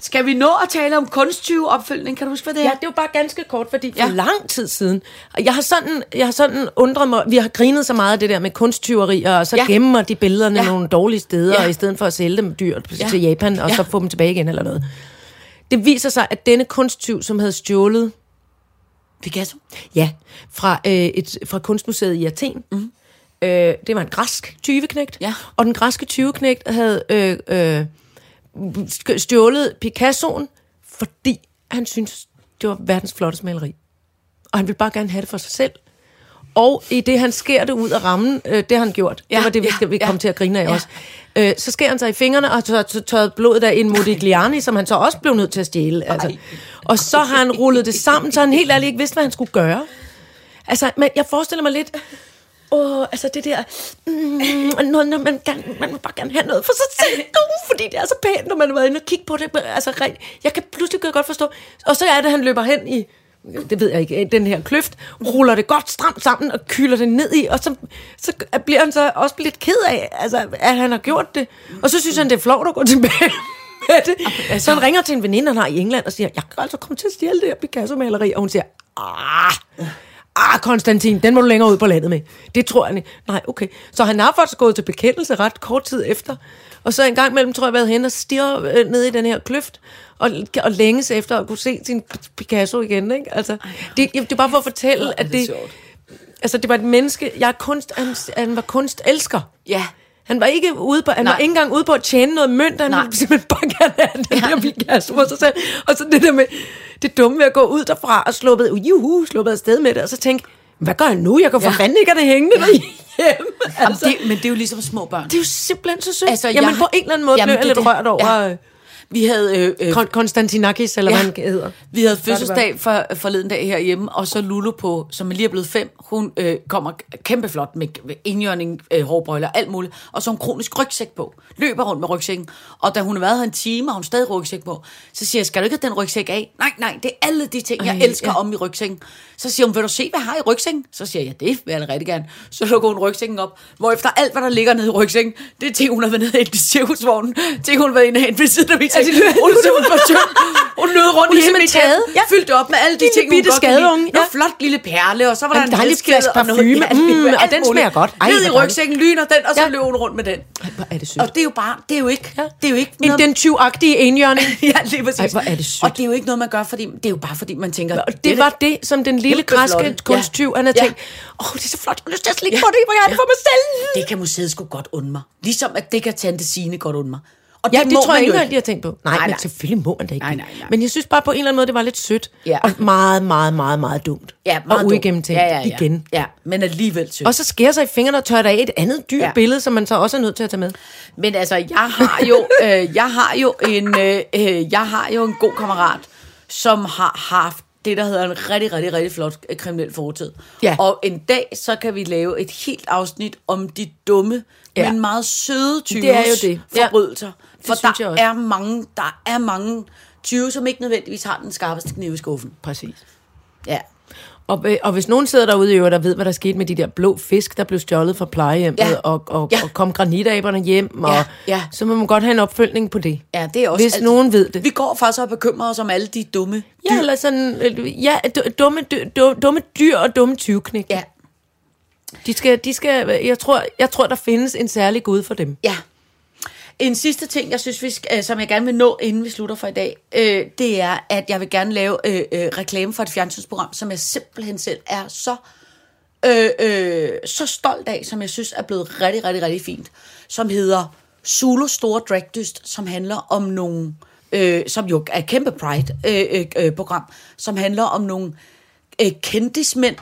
Skal vi nå at tale om kunstig opfølgning? Kan du huske, hvad det
Ja,
er?
det var bare ganske kort, fordi for ja.
Ja.
lang tid siden, og jeg har, sådan, jeg har sådan undret mig, vi har grinet så meget af det der med kunsttyveri, og så ja.
Ja.
gemmer de billederne ja. nogle dårlige steder, ja.
Ja.
og i stedet for at sælge dem dyrt ja. til Japan, og ja. så få dem tilbage igen eller noget. Det viser sig, at denne kunsttyv, som havde stjålet
Picasso?
ja, fra, øh, et, fra kunstmuseet i Athen, mm. øh, det var en græsk tyveknægt,
Ja.
og den græske tyveknægt havde øh, øh, sk- stjålet Picassoen, fordi han syntes, det var verdens flotteste maleri. Og han ville bare gerne have det for sig selv. Og i det, han skærer det ud af rammen, øh, det har han gjort. Ja, det var det, vi,
ja,
skal, vi
ja.
kom til at grine af ja. også. Øh, så skærer han sig i fingrene og har tør, tør, tørret blodet af en Modigliani, som han så også blev nødt til at stjæle. Altså. Og så har han rullet det sammen, så han helt ærligt ikke vidste, hvad han skulle gøre. Altså, men jeg forestiller mig lidt... Åh, altså det der... Mm, noget, når man, gerne, man vil bare gerne have noget for sig selv. Uh, fordi det er så pænt, når man har været inde og kigge på det. Men Altså, rent- jeg kan pludselig kan jeg godt forstå. Og så er det, han løber hen i det ved jeg ikke, den her kløft, ruller det godt stramt sammen og kylder det ned i, og så, så bliver han så også lidt ked af, altså, at han har gjort det. Og så synes han, det er flot at gå tilbage med det. Så han ringer til en veninde, han har i England, og siger, jeg kan altså komme til at stjæle det her Picasso-maleri. Og hun siger, ah, Ah, Konstantin, den må du længere ud på landet med. Det tror jeg ikke. Nej, okay. Så han har faktisk gået til bekendelse ret kort tid efter. Og så en gang imellem, tror jeg, været hen og stirre øh, ned i den her kløft. Og, og længes efter at kunne se sin Picasso igen, ikke? Altså, det, det er bare for at fortælle, at det... Altså, det var et menneske... Jeg er kunst... Han, han var kunstelsker.
Ja.
Han var ikke ude på, han
Nej.
var ikke engang ude på at tjene noget mønt, han
Nej.
ville simpelthen bare gerne have den der Picasso for sig selv. Og så det der med, det dumme ved at gå ud derfra og sluppet, juhu, sluppet afsted med det, og så tænke, hvad gør jeg nu? Jeg kan for fanden ikke have det hængende ja. derhjemme. Altså,
Det, men det er jo ligesom små børn.
det er jo simpelthen så sødt. Altså,
Altså,
jamen,
jeg-
på en eller anden måde
Jamen,
blev jeg
det er
lidt
det.
rørt over
Ja.
ja.
Vi havde, øh, øh,
Konstantinakis, eller ja. hvad han hedder.
vi havde fødselsdag for, forleden dag herhjemme, og så Lulu på, som lige er blevet fem, hun øh, kommer kæmpeflot med, med indjørning, øh, hårbrøjler, alt muligt, og så har hun kronisk rygsæk på, løber rundt med rygsækken, og da hun har været her en time, og hun stadig rygsæk på, så siger jeg, skal du ikke have den rygsæk af? Nej, nej, det er alle de ting, jeg
Ej,
elsker
ja.
ja. om i rygsækken. Så siger hun, vil du se, hvad jeg har i rygsækken? Så siger jeg, det vil jeg da rigtig gerne. Så lukker hun rygsækken op, hvor efter alt, hvad der ligger nede i rygsækken, det er ting, hun har været nede i hente i cirkusvognen, ting, hun har været inde og hente ved siden af min seng. Hun er simpelthen for tynd. Hun lød rundt
Hun
i
er
hele
simpelthen
mit hjem,
taget. Ja.
fyldt op med alle de
Lille
ting, hun
bitte
godt kan
skadeunge,
lide. Ja.
ja.
flot lille perle, og så var der
En
en
dejlig
halskæde
flaske
og noget-
parfume.
Ja, det-
Mm, og
alt
den
muligt.
smager godt. Ej,
Ned i
hvor
rygsækken, lyner den, og så
Ja.
løber hun rundt med den.
Hvor er det sødt.
Og det er jo bare, det er jo ikke, det er jo ikke
En,
noget...
den 20-agtige enhjørning.
Ja, lige præcis.
Ej, hvor er det sødt.
Og det er jo ikke noget, man gør, fordi, det er jo bare fordi, man tænker...
Og det var det, som den lille
Kæmpe
græske
flotte.
kunsttyv, han havde
Ja.
tænkt, åh, det er så flot, jeg har lyst til at slikke på det, hvor jeg har det for mig selv.
Det kan museet sgu godt undre mig. Ligesom at det kan Tante Signe godt undre mig. Og
Ja, det,
må
tror
man
jeg
jo
ikke, engang, de har tænkt på. Nej,
Nej,
nej, men
nej.
selvfølgelig må man da ikke.
Nej,
det.
nej, nej.
Men jeg synes bare på en eller anden måde, det var lidt sødt.
Ja.
Og meget, meget, meget, meget dumt.
Ja, meget
og
dumt.
uigennemtænkt
ja, ja, ja.
igen.
Ja, men alligevel sødt.
Og så skærer sig i fingrene og tørrer der af et andet dyrt ja.
Ja.
billede, som man så også er nødt til at tage med.
Men altså, jeg har jo, øh, jeg har jo en, øh, øh, jeg har jo en god kammerat, som har haft det, der hedder en rigtig, rigtig, rigtig flot øh, kriminel fortid.
Ja.
Og en dag, så kan vi lave et helt afsnit om de dumme,
Ja.
ja. men meget søde tyves
Det er jo det. Ja.
forbrydelser. Ja. For
synes
der
jeg også.
er mange, der er mange tyve, som ikke nødvendigvis har den skarpeste kniv i skuffen.
Præcis.
Ja.
Og, øh, og hvis nogen sidder derude i øvrigt og ved, hvad der skete med de der blå fisk, der blev stjålet fra plejehjemmet, ja.
Ja.
og, og, ja.
Ja.
og kom granitaberne hjem, og,
Ja, ja.
så må man godt have en opfølgning på det.
Ja, det er også
Hvis
altid-
nogen ved det.
Vi går faktisk og bekymrer os om alle de dumme
Ja, eller sådan, øh, ja, d- dumme, dy- du- dumme dyr og dumme tyvknæk.
Ja.
De skal, de skal, jeg tror, jeg tror, der findes en særlig gud for dem.
Ja. En sidste ting, jeg synes, vi skal, øh, som jeg gerne vil nå, inden vi slutter for i dag, øh, det er, at jeg vil gerne lave øh, øh, reklame for et fjernsynsprogram, som jeg simpelthen selv er så, øh, øh, så stolt af, som jeg synes er blevet rigtig, rigtig, rigtig fint, som hedder Zulu Store Dragdyst, som handler om nogle, øh, som jo er et kæmpe Pride-program, øh, øh, øh, program, som handler om nogle øh, kendtismænd,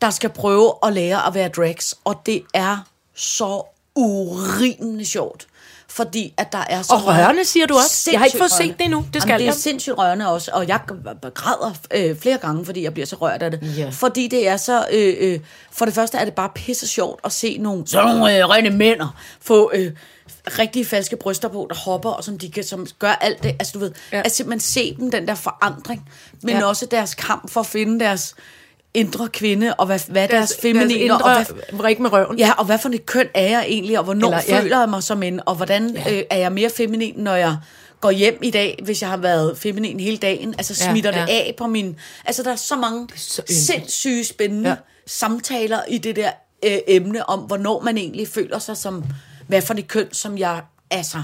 der skal prøve at lære at være drags, og det er så urimelig sjovt. Fordi at der er så
Og rørende, siger du også. Jeg har ikke
Sindssygt
fået set
rørende.
det endnu. Det skal
Jamen, det er
jeg.
sindssygt rørende også, og jeg græder øh, flere gange, fordi jeg bliver så rørt af det.
Ja.
Fordi det er så... Øh, øh, for det første er det bare pisse sjovt at se nogle sådan nogle øh, rene mænd få øh, rigtige falske bryster på, der hopper, og som de kan, som gør alt det. Altså du ved,
Ja.
ja. at simpelthen se dem, den der forandring, men
Ja.
ja. også deres kamp for at finde deres indre kvinde, og hvad, hvad deres, deres feminine,
indre,
og hvad,
vrik med røven.
Ja, og hvad for et køn er jeg egentlig, og hvornår
Eller,
Eller,
ja.
føler jeg mig som en, og hvordan ja. øh, er jeg mere feminin, når jeg går hjem i dag, hvis jeg har været feminin hele dagen? Altså
Ja,
smitter ja,
ja.
det af på min... Altså der er så mange er
så
så
yndigt.
sindssyge spændende
Ja.
ja. samtaler i det der øh, emne om, hvornår man egentlig føler sig som, hvad for et køn, som jeg... Altså,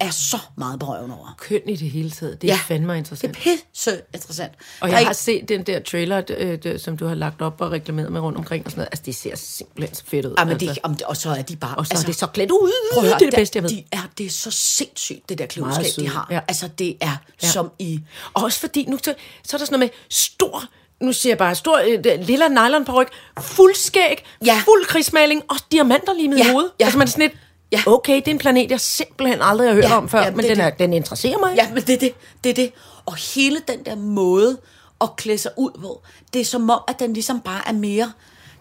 er så meget berøven over.
køn i det hele taget. Det er ja. fandme interessant.
Det er pisse interessant.
Og
Der er
jeg har
ikke-
set den der trailer, d- øh, d- som du har lagt op og reklameret med rundt omkring og sådan noget. Altså, det ser simpelthen så fedt ud.
Ja, men
altså.
det, om det, og så er de bare...
Og så altså, er det så klædt ud.
Prøv at høre,
det er det bedste, jeg ved.
De er, det er så sindssygt, det der
Meget
klogskab,
søde,
de har.
ja.
Ja. Altså, det er ja. som i...
Og også fordi, nu så, så er der sådan noget med stor, nu siger jeg bare, stor øh, det- lilla nylon paryk, fuld skæg, ja.
Ja.
fuld krigsmaling og diamanter lige med i
Ja,
hovedet.
ja.
Altså man er sådan lidt, ja.
Ja.
okay, det er en planet, jeg simpelthen aldrig har hørt
Ja,
om før,
jamen,
men
det er
den, er, den interesserer mig.
Ja, men det er det. Det er det. Og hele den der måde at klæde sig ud på, det er som om, at den ligesom bare er mere...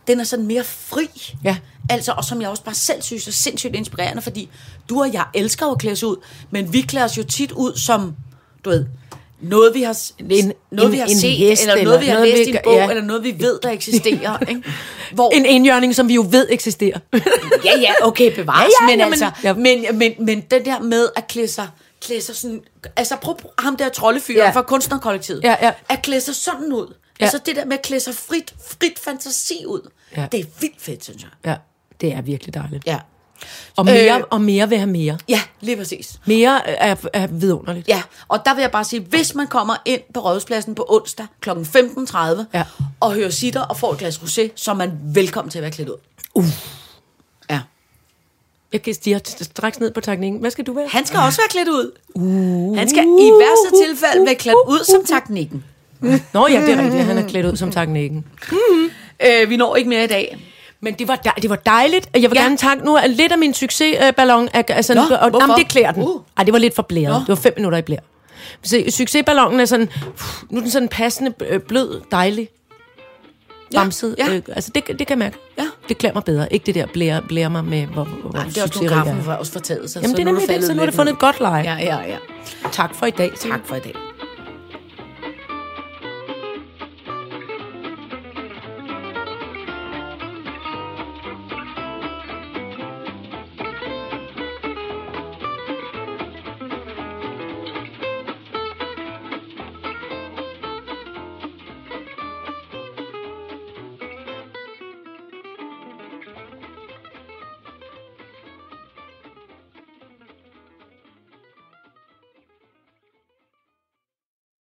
Den er sådan mere fri.
Ja.
Altså, og som jeg også bare selv synes er sindssygt inspirerende, fordi du og jeg elsker jo at klæde os ud, men vi klæder os jo tit ud som, du ved, noget vi har, s-
En-
noget,
en-
vi har
en
set,
hest,
eller
eller
noget vi har
noget, vi
læst i en
gør-
bog,
ja.
eller noget vi ved, der eksisterer. ikke? Hvor,
En indjørning, som vi jo ved eksisterer.
Ja, ja, okay, bevares,
Ja,
ja,
ja,
ja, men,
ja,
altså,
men-
men, men, men, men den der med at klæde sig, klæde sig sådan, altså prøv prøv ham der troldefyren
Ja.
ja. fra kunstnerkollektivet,
Ja, ja.
at klæde sig sådan ud,
Ja.
ja. altså det der med at klæde sig frit, frit fantasi ud,
Ja.
ja. det er vildt fedt, synes jeg.
ja, det er virkelig dejligt.
Ja.
Og mere, øh,
Øh.
og mere vil have mere.
ja, lige præcis.
Mere er, er vidunderligt.
Ja, og der vil jeg bare sige, hvis man kommer ind på Rådhuspladsen på onsdag kl. 15.30
Ja.
ja. og hører sitter og får et glas rosé, så er man velkommen til at være klædt ud. Uh. Ja.
Jeg kan stige straks ned på takningen. Hvad skal du være?
Han skal også være klædt ud. Uh, han skal i værste tilfælde være klædt ud som taknikken.
Nå ja, det er rigtigt. Han er klædt ud som takningen.
Øh, vi når ikke mere i dag.
Men det var, dej, det var dejligt. Jeg vil ja.
Ja.
gerne takke nu at lidt af min succesballon. Er, altså, Nå,
Nå,
og,
hvorfor?
jamen, det klæder den. Uh.
Uh.
Ej, det var lidt for blæret. Det var fem minutter i blære. Så succesballonen er sådan, pff, nu er den sådan passende, øh, blød, dejlig, bamset.
ja.
Øh, altså, det, det kan jeg mærke.
Ja.
Det klæder mig bedre. Ikke det der blære, blære mig med, hvor, hvor Ej,
Ej, det er også nu kaffen var også fortaget sig.
Jamen, det er nemlig det, så nu er det fundet et godt leje.
Ja, ja, ja.
Tak for i dag. Tak
For i dag.